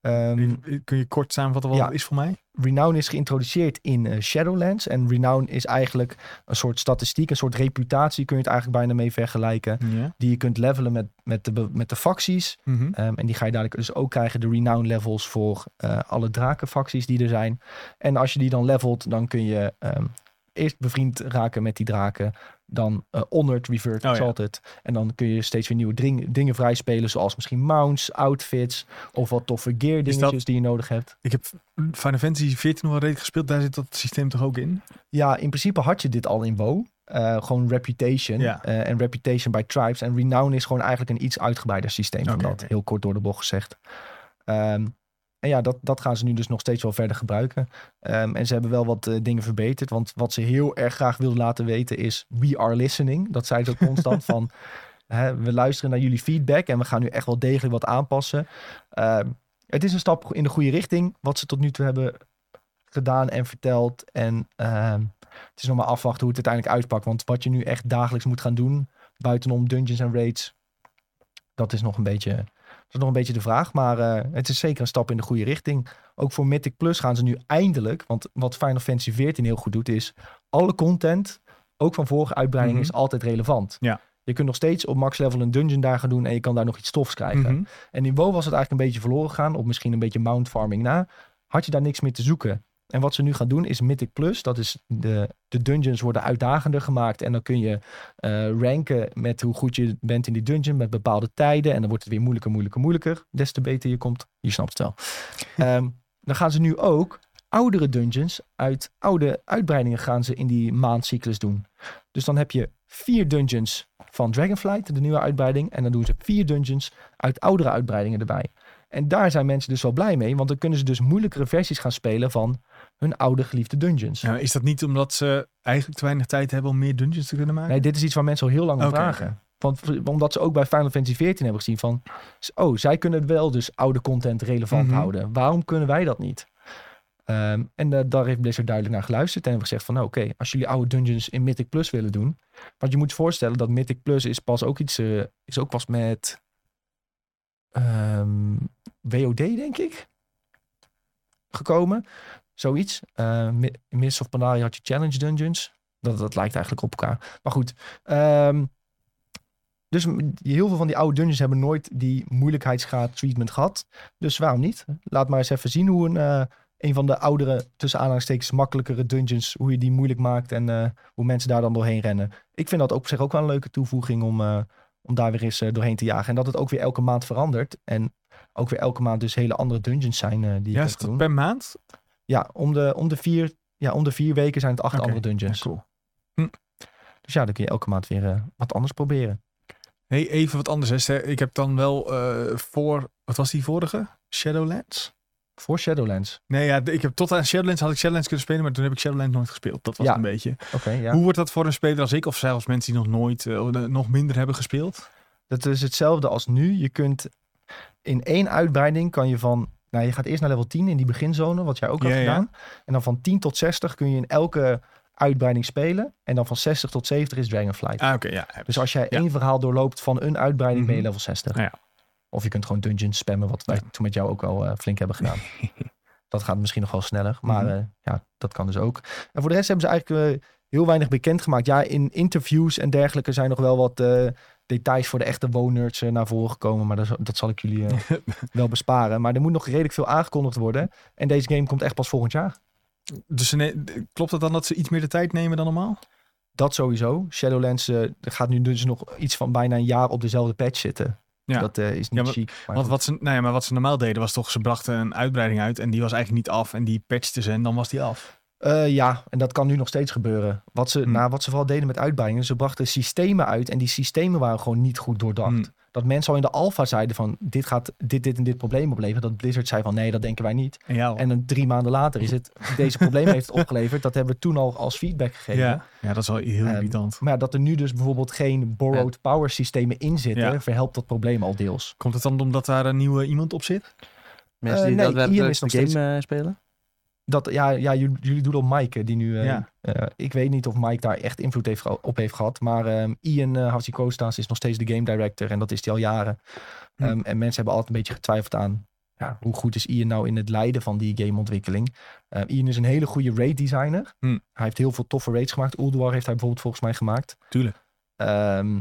Speaker 1: ehm,
Speaker 2: Kun je kort samenvatten wat
Speaker 1: Ja.
Speaker 2: het is voor mij?
Speaker 1: Renown is geïntroduceerd in eh, Shadowlands. En Renown is eigenlijk een soort statistiek, een soort reputatie... kun je het eigenlijk bijna mee vergelijken...
Speaker 2: Ja. Mhm.
Speaker 1: die je kunt levelen met, met, de, be- met de facties... Ehm, en die ga je dadelijk dus ook krijgen, de renown levels voor eh, alle drakenfacties die er zijn. En als je die dan levelt, dan kun je ehm, eerst bevriend raken met die draken. Dan eh honored, revert,
Speaker 2: Oh ja.
Speaker 1: exalted. En dan kun je steeds weer nieuwe dring- dingen vrijspelen, zoals misschien mounts, outfits of wat toffe gear dingetjes
Speaker 2: dat-
Speaker 1: die je nodig hebt.
Speaker 2: Ik heb Final Fantasy 14 nog wel redelijk gespeeld. Daar zit dat systeem toch ook in?
Speaker 1: Ja, in principe had je dit al in WoW. Eh, gewoon reputation
Speaker 2: Ja.
Speaker 1: eh, en reputation by tribes. En renown is gewoon eigenlijk een iets uitgebreider systeem dan
Speaker 2: Oké,
Speaker 1: dat.
Speaker 2: oké.
Speaker 1: Heel kort door de bocht gezegd. Ehm, en ja, dat, dat gaan ze nu dus nog steeds wel verder gebruiken. Ehm, en ze hebben wel wat eh, dingen verbeterd. Want wat ze heel erg graag wilden laten weten is... We are listening. Dat zeiden ze ook
Speaker 2: [LAUGHS]
Speaker 1: constant van... Hè, we luisteren naar jullie feedback en we gaan nu echt wel degelijk wat aanpassen. Ehm, het is een stap in de goede richting, wat ze tot nu toe hebben gedaan en verteld. En ehm, het is nog maar afwachten hoe het uiteindelijk uitpakt. Want wat je nu echt dagelijks moet gaan doen, buitenom dungeons en raids, dat is nog een beetje, dat is nog een beetje de vraag. Maar eh, het is zeker een stap in de goede richting. Ook voor Mythic Plus gaan ze nu eindelijk, want wat Final Fantasy XIV heel goed doet, is alle content, ook van vorige uitbreiding,
Speaker 2: Mhm.
Speaker 1: is altijd relevant.
Speaker 2: Ja.
Speaker 1: Je kunt nog steeds op max level een dungeon daar gaan doen en je kan daar nog iets tofs krijgen.
Speaker 2: Mhm.
Speaker 1: En in WoW was het eigenlijk een beetje verloren gegaan. Op misschien een beetje mount farming na. Had je daar niks meer te zoeken. En wat ze nu gaan doen is Mythic Plus. Dat is de, de dungeons worden uitdagender gemaakt. En dan kun je eh, ranken met hoe goed je bent in die dungeon. Met bepaalde tijden. En dan wordt het weer moeilijker, moeilijker, moeilijker. Des te beter je komt. Je snapt het wel. Ehm, dan gaan ze nu ook oudere dungeons uit oude uitbreidingen gaan ze in die maandcyclus doen. Dus dan heb je vier dungeons van Dragonflight, de nieuwe uitbreiding. En dan doen ze vier dungeons uit oudere uitbreidingen erbij. En daar zijn mensen dus wel blij mee, want dan kunnen ze dus moeilijkere versies gaan spelen van hun oude geliefde dungeons.
Speaker 2: Nou, is dat niet omdat ze eigenlijk te weinig tijd hebben om meer dungeons te kunnen maken?
Speaker 1: Nee, dit is iets waar mensen al heel lang om
Speaker 2: Oké,
Speaker 1: vragen.
Speaker 2: oké.
Speaker 1: Want, omdat ze ook bij Final Fantasy XIV hebben gezien van... Oh, zij kunnen wel dus oude content relevant
Speaker 2: Mhm.
Speaker 1: houden. Waarom kunnen wij dat niet? Ehm, en eh, daar heeft Blizzard duidelijk naar geluisterd. En hebben gezegd van, nou, oké, als jullie oude dungeons in Mythic Plus willen doen... Want je moet je voorstellen dat Mythic Plus is pas ook iets... eh, is ook pas met... ehm, WOD, denk ik. Ehm, Gekomen. Zoiets. Eh Mi- in Mists of Pandaria had je Challenge Dungeons. Dat, dat lijkt eigenlijk op elkaar. Maar goed. ehm, dus m- heel veel van die oude dungeons hebben nooit die moeilijkheidsgraad treatment gehad. Dus waarom niet? Laat maar eens even zien hoe een, eh, een van de oudere, tussen aanhalingstekens, makkelijkere dungeons, hoe je die moeilijk maakt en eh, hoe mensen daar dan doorheen rennen. Ik vind dat ook op zich ook wel een leuke toevoeging om, eh, om daar weer eens eh, doorheen te jagen. En dat het ook weer elke maand verandert. En ook weer elke maand dus hele andere dungeons zijn eh, die je
Speaker 2: Ja, is
Speaker 1: kunt doen.
Speaker 2: dat per maand?
Speaker 1: Ja, om de, om de, vier, ja, om de vier weken zijn het acht
Speaker 2: Oké,
Speaker 1: andere dungeons.
Speaker 2: ja, cool.
Speaker 1: Dus ja, dan kun je elke maand weer eh, wat anders proberen.
Speaker 2: Hey, even wat anders. Hè. Ze- Ik heb dan wel eh, voor, wat was die vorige? Shadowlands?
Speaker 1: Voor Shadowlands.
Speaker 2: Nee, ja, ik heb tot aan Shadowlands had ik Shadowlands kunnen spelen, maar toen heb ik Shadowlands nooit gespeeld. Dat was
Speaker 1: Ja.
Speaker 2: een beetje.
Speaker 1: Oké, ja.
Speaker 2: Hoe wordt dat voor een speler als ik, of zelfs mensen die nog nooit, eh, of, eh, nog minder hebben gespeeld?
Speaker 1: Dat is hetzelfde als nu. Je kunt in één uitbreiding kan je van... Nou, je gaat eerst naar level 10 in die beginzone, wat jij ook
Speaker 2: Ja,
Speaker 1: had
Speaker 2: ja.
Speaker 1: gedaan. En dan van 10 tot 60 kun je in elke uitbreiding spelen. En dan van 60 tot 70 is Dragonflight.
Speaker 2: Ah, oké, ja.
Speaker 1: Dus als jij
Speaker 2: Ja.
Speaker 1: één verhaal doorloopt van een uitbreiding, ben je
Speaker 2: Mhm.
Speaker 1: level 60.
Speaker 2: Ah, ja.
Speaker 1: Of je kunt gewoon dungeons spammen, wat wij toen met jou ook al eh, flink hebben
Speaker 2: [LAUGHS]
Speaker 1: gedaan. dat gaat misschien nog wel sneller, maar
Speaker 2: Mhm.
Speaker 1: eh, ja, dat kan dus ook. En voor de rest hebben ze eigenlijk eh, heel weinig bekendgemaakt. Ja, in interviews en dergelijke zijn nog wel wat eh, details voor de echte woonnerds eh, naar voren gekomen. Maar dat, is- dat zal ik jullie
Speaker 2: [LAUGHS]
Speaker 1: eh, wel besparen. Maar er moet nog redelijk veel aangekondigd worden. En deze game komt echt pas volgend jaar.
Speaker 2: Dus ze ne- d- klopt het dan dat ze iets meer de tijd nemen dan normaal?
Speaker 1: Dat sowieso. Shadowlands eh, er gaat nu dus nog iets van bijna een jaar op dezelfde patch zitten.
Speaker 2: Ja.
Speaker 1: Dat eh, is niet
Speaker 2: maar-
Speaker 1: chic. maar
Speaker 2: Want
Speaker 1: goed.
Speaker 2: wat ze, nou ja, maar wat ze normaal deden was toch, ze brachten een uitbreiding uit en die was eigenlijk niet af en die patchten ze en dan was die af.
Speaker 1: Eh, ja, en dat kan nu nog steeds gebeuren. Wat ze,
Speaker 2: Hmm.
Speaker 1: nou, wat ze vooral deden met uitbreidingen, ze brachten systemen uit en die systemen waren gewoon niet goed doordacht.
Speaker 2: Hmm.
Speaker 1: Dat mensen al in de alfa zeiden van dit gaat dit, dit en dit probleem opleveren. Dat Blizzard zei van nee, dat denken wij niet.
Speaker 2: En jou?
Speaker 1: En dan drie maanden later is
Speaker 2: [LAUGHS]
Speaker 1: het, deze probleem heeft het opgeleverd. Dat hebben we toen al als feedback gegeven.
Speaker 2: ja. ja, dat is wel heel
Speaker 1: Ehm,
Speaker 2: irritant.
Speaker 1: Maar ja, dat er nu dus bijvoorbeeld geen borrowed power systemen in zitten,
Speaker 2: Ja.
Speaker 1: verhelpt dat probleem al deels.
Speaker 2: Komt het dan omdat daar een nieuwe iemand op zit?
Speaker 3: Mensen
Speaker 1: Eh,
Speaker 3: die
Speaker 1: nee, Ian
Speaker 3: daadwerkelijk
Speaker 1: is nog
Speaker 3: de game eh, spelen.
Speaker 1: Dat, ja, ja, jullie, jullie doen al Mike, eh, die nu... eh,
Speaker 2: Ja.
Speaker 1: eh, ik weet niet of Mike daar echt invloed heeft, ge- op heeft gehad. Maar ehm, Ian uh, Hatzikostas is nog steeds de game director. En dat is hij al jaren.
Speaker 2: Hm.
Speaker 1: Ehm, en mensen hebben altijd een beetje getwijfeld aan... Ja, hoe goed is Ian nou in het leiden van die gameontwikkeling? Eh, Ian is een hele goede raid designer.
Speaker 2: Hm.
Speaker 1: Hij heeft heel veel toffe raids gemaakt. Ulduar heeft hij bijvoorbeeld volgens mij gemaakt.
Speaker 2: Tuurlijk.
Speaker 1: Ehm,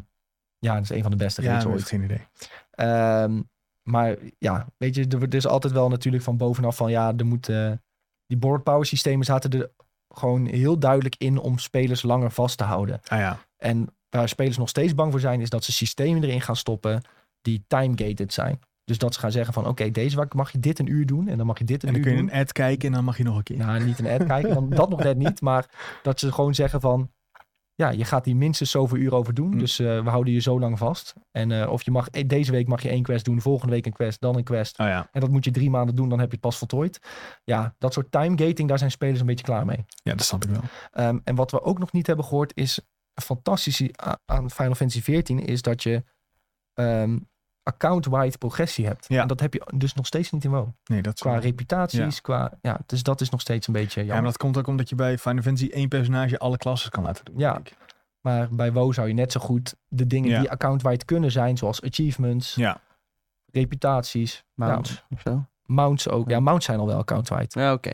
Speaker 1: ja, dat is een van de beste raids
Speaker 2: dat
Speaker 1: ooit.
Speaker 2: is geen idee.
Speaker 1: Ehm, maar ja, weet je, er, wordt- er is altijd wel natuurlijk van bovenaf van ja, er moet. eh, die board power systemen zaten er gewoon heel duidelijk in om spelers langer vast te houden.
Speaker 2: Ah ja,
Speaker 1: En waar spelers nog steeds bang voor zijn, is dat ze systemen erin gaan stoppen die time-gated zijn. Dus dat ze gaan zeggen van oké, deze week mag je dit een uur doen en dan mag je dit een
Speaker 2: en dan
Speaker 1: uur
Speaker 2: kun je
Speaker 1: doen.
Speaker 2: een ad kijken en dan mag je nog een keer.
Speaker 1: Nou, niet een ad kijken, dan, dat nog net niet. Maar dat ze gewoon zeggen van... Ja, je gaat hier minstens zoveel uur over doen.
Speaker 2: Mm.
Speaker 1: Dus eh, we houden je zo lang vast. En eh, of je mag, eh, deze week mag je één quest doen, volgende week een quest, dan een quest.
Speaker 2: Oh ja.
Speaker 1: En dat moet je drie maanden doen, dan heb je het pas voltooid. Ja, dat soort timegating, daar zijn spelers een beetje klaar mee.
Speaker 2: ja, dat snap ik wel.
Speaker 1: Ehm, en wat we ook nog niet hebben gehoord is... Fantastisch i- a- aan Final Fantasy XIV is dat je ehm, account-wide progressie hebt.
Speaker 2: Ja.
Speaker 1: En dat heb je dus nog steeds niet in WoW.
Speaker 2: Nee, dat is
Speaker 1: Qua
Speaker 2: wel-
Speaker 1: reputaties, qua... Ja, dus dat is nog steeds een beetje jammer.
Speaker 2: Ja, maar dat komt ook omdat je bij Final Fantasy één personage alle klassen kan laten doen.
Speaker 1: Ja.
Speaker 2: denk ik.
Speaker 1: Maar bij WoW zou je net zo goed de dingen
Speaker 2: Ja.
Speaker 1: die account-wide kunnen zijn, zoals achievements,
Speaker 2: Ja.
Speaker 1: reputaties, mounts.
Speaker 3: Mounts of zo.
Speaker 1: mounts ook. Ja, mounts zijn al wel account-wide.
Speaker 3: Ja, oké.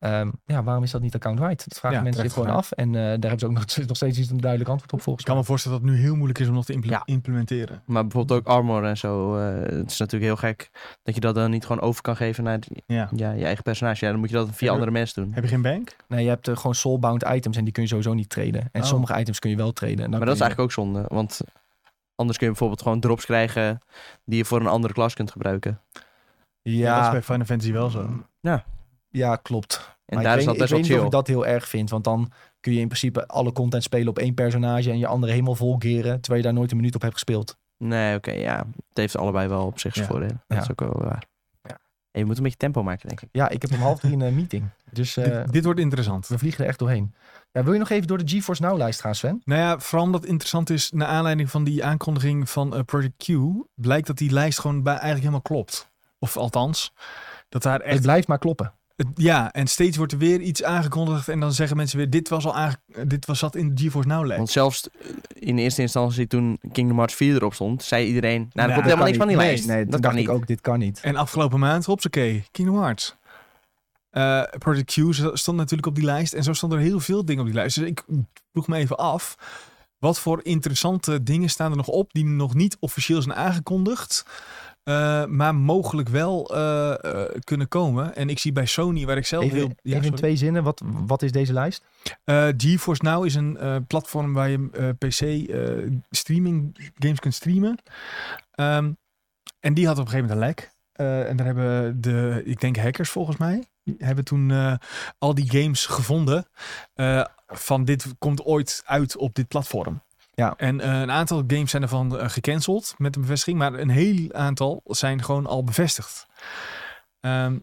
Speaker 1: Ehm, ja, waarom is dat niet account-wide? Dat vragen
Speaker 2: Ja,
Speaker 1: mensen zich
Speaker 2: terecht
Speaker 1: gewoon af. En eh, daar hebben ze ook [LAUGHS] nog, nog steeds niet een duidelijk antwoord op
Speaker 2: Ik
Speaker 1: volgens
Speaker 2: kan me voorstellen dat het nu heel moeilijk is om dat te imple-
Speaker 3: Ja.
Speaker 2: implementeren.
Speaker 3: Maar bijvoorbeeld ook armor en zo. eh, het is natuurlijk heel gek dat je dat dan niet gewoon over kan geven naar die-
Speaker 2: Ja.
Speaker 3: ja, je eigen personage. Ja, dan moet je dat via
Speaker 2: Ja.
Speaker 3: andere mensen doen.
Speaker 2: Heb je geen bank?
Speaker 1: mij. Nee, je hebt eh, gewoon soulbound items en die kun je sowieso niet traden. En
Speaker 2: Oh.
Speaker 1: sommige items kun je wel traden. En dan
Speaker 3: Maar dat
Speaker 1: kun
Speaker 3: is
Speaker 1: je-
Speaker 3: eigenlijk ook zonde. Want anders kun je bijvoorbeeld gewoon drops krijgen die je voor een andere klas kunt gebruiken.
Speaker 2: dat is
Speaker 1: Ja,
Speaker 2: bij Final Fantasy wel
Speaker 1: Mm,
Speaker 2: zo.
Speaker 1: ja, klopt.
Speaker 3: En
Speaker 1: Maar
Speaker 3: daar
Speaker 1: ik
Speaker 3: is
Speaker 1: weet,
Speaker 3: dat
Speaker 1: ik weet
Speaker 3: best wel
Speaker 1: niet of
Speaker 3: chill.
Speaker 1: ik dat heel erg vind. Want dan kun je in principe alle content spelen op één personage en je andere helemaal volkeren, terwijl je daar nooit een minuut op hebt gespeeld.
Speaker 3: Nee, oké, ja. Het heeft allebei wel op zich zijn
Speaker 2: Ja.
Speaker 3: voordelen. Dat
Speaker 1: Ja.
Speaker 3: is ook wel waar.
Speaker 1: Ja.
Speaker 3: En je moet een beetje tempo maken, denk ik.
Speaker 1: Ja, ik heb om half drie een eh, meeting. Dus eh,
Speaker 2: dit, dit wordt interessant.
Speaker 1: we vliegen er echt doorheen. Ja, wil je nog even door de GeForce Now-lijst gaan, Sven?
Speaker 2: Nou ja, vooral omdat het interessant is, naar aanleiding van die aankondiging van eh, Project Q, blijkt dat die lijst gewoon bij, eigenlijk helemaal klopt. Of althans, dat daar echt...
Speaker 1: Het blijft maar kloppen.
Speaker 2: het- ja, en steeds wordt er weer iets aangekondigd en dan zeggen mensen weer, dit was al aange, eh, dit was zat in de GeForce Now lijst.
Speaker 3: Want zelfs eh, in eerste instantie toen Kingdom Hearts 4 erop stond, zei iedereen, nou,
Speaker 2: Nou,
Speaker 3: er komt
Speaker 2: dat
Speaker 3: helemaal
Speaker 1: kan
Speaker 3: niks van die
Speaker 1: niet.
Speaker 3: lijst.
Speaker 1: Nee, nee, toen
Speaker 3: dat kan
Speaker 1: dacht
Speaker 3: niet.
Speaker 1: ik ook, dit kan niet.
Speaker 2: En afgelopen maand, hopsakee, Kingdom Hearts. Eh, Project Q z- stond natuurlijk op die lijst. En zo stonden er heel veel dingen op die lijst. Dus ik vroeg me even af. Wat voor interessante dingen staan er nog op die nog niet officieel zijn aangekondigd? eh, maar mogelijk wel eh, eh, kunnen komen. En ik zie bij Sony, waar ik zelf
Speaker 1: Even,
Speaker 2: heel... ja,
Speaker 1: even in
Speaker 2: sorry.
Speaker 1: twee zinnen, wat, wat is deze lijst?
Speaker 2: Eh, GeForce Now is een eh, platform waar je eh, PC eh, streaming games kunt streamen. Ehm, en die had op een gegeven moment een lek. Eh, en daar hebben de, ik denk hackers volgens mij, die hebben toen eh, al die games gevonden. eh, van dit komt ooit uit op dit platform.
Speaker 1: Ja.
Speaker 2: En eh, een aantal games zijn ervan eh, gecanceld met een bevestiging. Maar een heel aantal zijn gewoon al bevestigd. Ehm,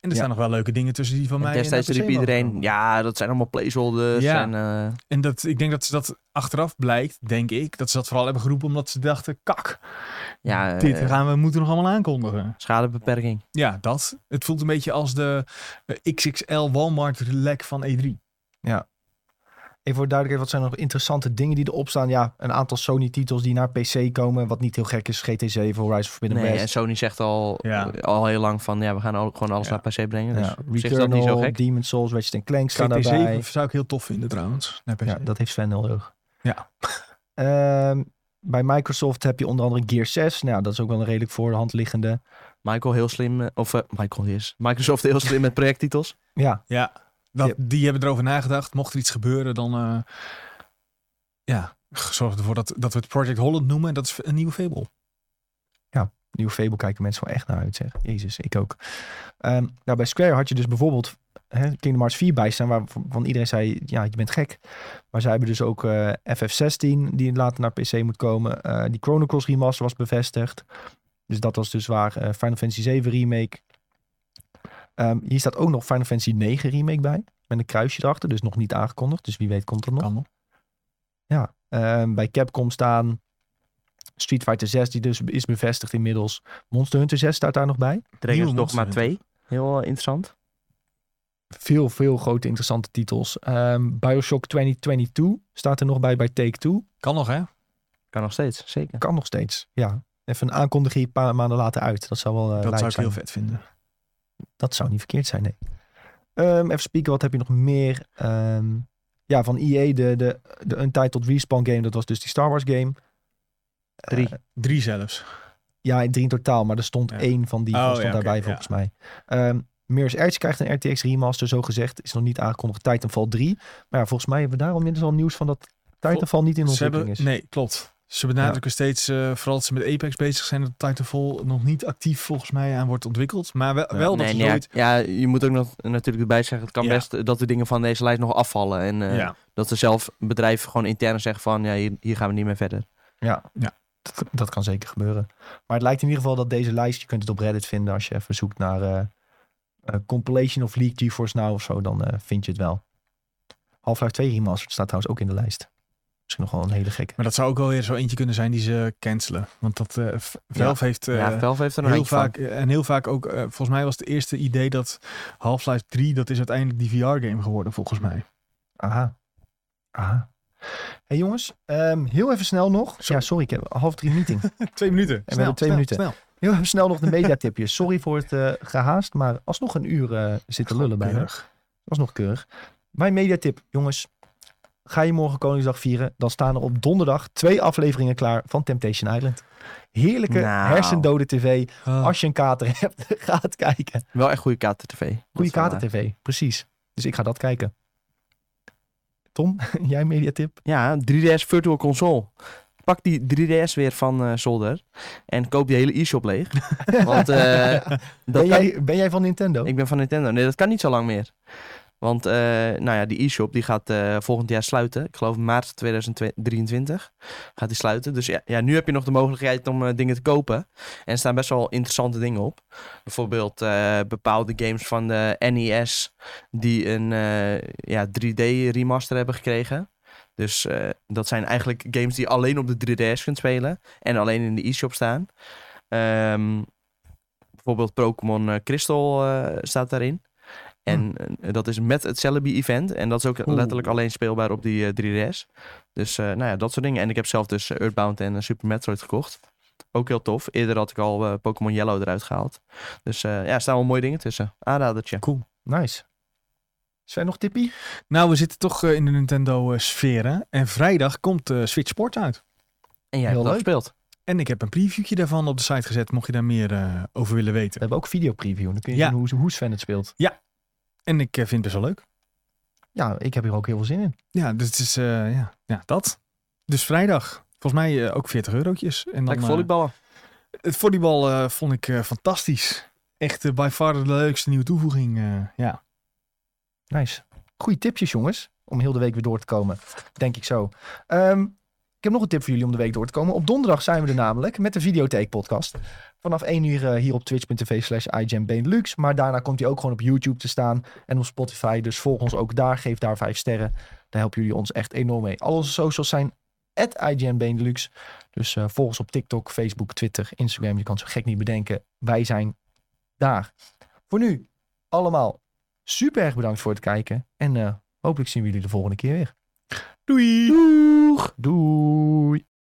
Speaker 2: en er
Speaker 1: Ja.
Speaker 2: staan nog wel leuke dingen tussen die van
Speaker 3: En
Speaker 2: mij. en
Speaker 3: destijds
Speaker 2: dat
Speaker 3: riep
Speaker 2: PC mogen komen.
Speaker 3: iedereen, ja, dat zijn allemaal placeholders.
Speaker 2: Ja.
Speaker 3: En, eh,
Speaker 2: En dat, ik denk dat ze dat achteraf blijkt, denk ik, dat ze dat vooral hebben geroepen omdat ze dachten, kak,
Speaker 3: ja,
Speaker 2: dit
Speaker 3: eh,
Speaker 2: gaan we moeten nog allemaal aankondigen.
Speaker 3: schadebeperking.
Speaker 2: Ja, dat. Het voelt een beetje als de eh, XXL Walmart lek van E E3.
Speaker 1: Even voor duidelijkheid, wat zijn nog interessante dingen die erop staan? Ja, een aantal Sony-titels die naar PC komen, wat niet heel gek is. GT7, Horizon Forbidden
Speaker 3: Nee, en
Speaker 1: West,
Speaker 3: Sony zegt al,
Speaker 2: Ja.
Speaker 3: al heel lang van, ja, we gaan al, gewoon alles
Speaker 2: Ja.
Speaker 3: naar PC brengen. Dus
Speaker 1: ja,
Speaker 3: op zich is dat niet zo
Speaker 1: Returnal,
Speaker 3: gek.
Speaker 1: Demon's Souls, Ratchet Clank staan daarbij.
Speaker 2: GT7 zou ik heel tof vinden trouwens. Naar PC.
Speaker 1: Ja, dat heeft Sven heel erg.
Speaker 2: Ja.
Speaker 1: Ehm, bij Microsoft heb je onder andere Gear 6. Nou, dat is ook wel een redelijk voor de hand liggende.
Speaker 3: Michael heel slim, eh, of eh, Michael is Microsoft heel slim met
Speaker 2: [LAUGHS]
Speaker 3: projecttitels.
Speaker 1: Ja,
Speaker 2: Dat-
Speaker 1: Ja.
Speaker 2: Die hebben erover nagedacht. Mocht er iets gebeuren, dan eh, ja, zorg ervoor dat, dat we het Project Holland noemen. En dat is een nieuwe Fable.
Speaker 1: nieuw Fable kijken mensen wel echt naar uit, zeg. Jezus, ik ook. Ehm, nou, bij Square had je dus bijvoorbeeld hè, Kingdom Hearts 4 bij staan, waarvan iedereen zei, ja, je bent gek. Maar zij hebben dus ook eh, FF16, die later naar PC moet komen. Eh, die Chrono Cross remaster was bevestigd. Dus dat was dus waar. eh, Final Fantasy 7 remake. Ehm, hier staat ook nog Final Fantasy 9 remake bij. Met een kruisje erachter, dus nog niet aangekondigd. Dus wie weet komt dat nog.
Speaker 2: Kan nog.
Speaker 1: Ehm, bij Capcom staan Street Fighter 6, die dus is bevestigd inmiddels. Monster Hunter 6 staat daar nog bij.
Speaker 3: Dragon's
Speaker 2: Nieuwe
Speaker 3: Dogma
Speaker 2: Monster
Speaker 3: 2, heel eh, interessant.
Speaker 1: Veel, veel grote interessante titels. Ehm, Bioshock 2022 staat er nog bij bij Take-Two.
Speaker 2: Kan nog, hè?
Speaker 3: Kan nog steeds, zeker.
Speaker 1: Kan nog steeds, ja. Even een aankondiging een paar maanden later uit. Dat zou wel eh,
Speaker 2: dat
Speaker 1: lijp
Speaker 2: zou ik
Speaker 1: zijn.
Speaker 2: heel vet vinden.
Speaker 1: Dat zou niet verkeerd zijn, nee. Ehm, even spieken, wat heb je nog meer? Ehm, ja, van EA, de, de, de Untitled Respawn game. Dat was dus die Star Wars game.
Speaker 3: Drie.
Speaker 1: Eh,
Speaker 2: Drie zelfs.
Speaker 1: ja, drie in totaal. Maar er stond
Speaker 2: Ja.
Speaker 1: één van die
Speaker 2: Oh,
Speaker 1: stond
Speaker 2: ja, oké,
Speaker 1: daarbij,
Speaker 2: ja.
Speaker 1: volgens mij. Ehm Mirror's Edge krijgt een RTX remaster, zo gezegd. Is nog niet aangekondigd. Titanfall 3. Maar ja, volgens mij hebben we daar inmiddels al nieuws van dat Titanfall niet in
Speaker 2: Ze
Speaker 1: ontwikkeling
Speaker 2: hebben,
Speaker 1: is.
Speaker 2: nee, klopt. Ze benadrukken steeds, eh, vooral dat ze met Apex bezig zijn, dat Titanfall nog niet actief volgens mij aan wordt ontwikkeld. Maar wel, wel dat
Speaker 3: Nee,
Speaker 2: ze
Speaker 3: nee, ja,
Speaker 2: zoiets...
Speaker 3: ja, je moet ook nog, natuurlijk erbij zeggen, het kan
Speaker 2: Ja.
Speaker 3: best eh, dat de dingen van deze lijst nog afvallen. En eh,
Speaker 2: ja.
Speaker 3: dat er zelf bedrijven gewoon intern zeggen van, ja, hier, hier gaan we niet meer verder.
Speaker 1: Ja,
Speaker 2: Ja.
Speaker 1: Dat, dat kan zeker gebeuren. Maar het lijkt in ieder geval dat deze lijst, je kunt het op Reddit vinden als je even zoekt naar eh, eh, compilation of leaked GeForce Now of zo, dan eh, vind je het wel. Half-Life 2 remastered staat trouwens ook in de lijst. Misschien nog wel een hele gekke.
Speaker 2: Maar dat zou ook wel weer zo eentje kunnen zijn die ze cancelen. Want dat eh, V- Valve heeft eh,
Speaker 3: ja, Valve heeft er een
Speaker 2: heel
Speaker 3: handje van.
Speaker 2: vaak, en heel vaak ook, eh, volgens mij was het eerste idee dat Half-Life 3, dat is uiteindelijk die VR-game geworden volgens mij.
Speaker 1: Aha. Aha. hey jongens, ehm, heel even snel nog. Ja, sorry, ik heb half drie meeting.
Speaker 2: twee minuten.
Speaker 1: hebben twee minuten.
Speaker 2: Snel.
Speaker 1: Heel even snel nog de mediatipjes. Sorry voor het eh, gehaast, maar alsnog een uur eh, zitten lullen bijna.
Speaker 2: Keurig.
Speaker 1: Dat was nog keurig. Mijn mediatip, jongens. Ga je morgen Koningsdag vieren, dan staan er op donderdag twee afleveringen klaar van Temptation Island. Heerlijke
Speaker 3: Nou.
Speaker 1: hersendode tv.
Speaker 2: Ah.
Speaker 1: Als je een kater hebt, [LAUGHS] ga het kijken.
Speaker 3: Wel echt goede kater-tv.
Speaker 1: Goede kater tv, precies. Dus ik ga dat kijken. Tom, [LAUGHS] jij mediatip?
Speaker 3: Ja, 3DS Virtual Console. Pak die 3DS weer van eh, zolder en koop die hele e-shop
Speaker 1: [LAUGHS]
Speaker 3: leeg. Want eh, dat
Speaker 1: Ben
Speaker 3: kan-
Speaker 1: jij, ben jij van Nintendo?
Speaker 3: ik ben van Nintendo. Nee, dat kan niet zo lang meer. Want eh, nou ja, die e-shop die gaat eh, volgend jaar sluiten. Ik geloof maart 2023 gaat die sluiten. Dus ja, ja nu heb je nog de mogelijkheid om eh, dingen te kopen. En er staan best wel interessante dingen op. Bijvoorbeeld eh, bepaalde games van de NES die een eh, ja, 3D remaster hebben gekregen. Dus eh, dat zijn eigenlijk games die je alleen op de 3DS kunt spelen en alleen in de e-shop staan. Ehm, bijvoorbeeld Pokémon eh, Crystal eh, staat daarin. En eh, dat is met het Celebi event. En dat is ook
Speaker 1: Hm. Oeh.
Speaker 3: letterlijk alleen speelbaar op die eh, 3DS. Dus eh, nou ja, dat soort dingen. En ik heb zelf dus eh, Earthbound en eh, Super Metroid gekocht. Ook heel tof. Eerder had ik al eh, Pokémon Yellow eruit gehaald. Dus eh, ja, er staan wel mooie dingen tussen. Aanradertje.
Speaker 2: Cool.
Speaker 1: Nice. Zijn er nog tippie?
Speaker 2: Nou, we zitten toch eh, in de Nintendo-sfeer. en vrijdag komt eh, Switch Sport uit.
Speaker 3: En jij hebt
Speaker 1: Heel
Speaker 3: dat
Speaker 1: leuk.
Speaker 3: gespeeld.
Speaker 2: En ik heb een previewtje daarvan op de site gezet, mocht je daar meer eh, over willen
Speaker 1: We
Speaker 2: weten.
Speaker 1: hebben ook videopreview. Dan kun je
Speaker 2: Ja.
Speaker 1: zien hoe, hoe Sven het speelt.
Speaker 2: En ik eh, vind het best wel leuk.
Speaker 1: Ja, ik heb hier ook heel veel zin in.
Speaker 2: Ja, dus het is eh, ja, ja, dat. Dus vrijdag. Volgens mij eh, ook 40 eurotjes. En dan,
Speaker 3: Lekker
Speaker 2: eh,
Speaker 3: volleyballen.
Speaker 2: het volleybal eh, vond ik eh, fantastisch. Echt eh, by far de leukste nieuwe toevoeging. eh, ja.
Speaker 1: Nice. Goeie tipjes, jongens. Om heel de week weer door te komen. Denk ik zo. Ehm, ik heb nog een tip voor jullie om de week door te komen. Op donderdag zijn we er namelijk met de Videotheek podcast. Vanaf 1 uur eh, hier op twitch.tv slash Benelux. Maar daarna komt hij ook gewoon op YouTube te staan. En op Spotify. Dus volg ons ook daar. Geef daar 5 sterren. Daar helpen jullie ons echt enorm mee. Al onze socials zijn at Benelux. Dus eh volg ons op TikTok, Facebook, Twitter, Instagram. Je kan het zo gek niet bedenken. Wij zijn daar. Voor nu allemaal super erg bedankt voor het kijken. En eh, hopelijk zien we jullie de volgende keer weer.
Speaker 2: Doei!
Speaker 1: Doeg! Doei!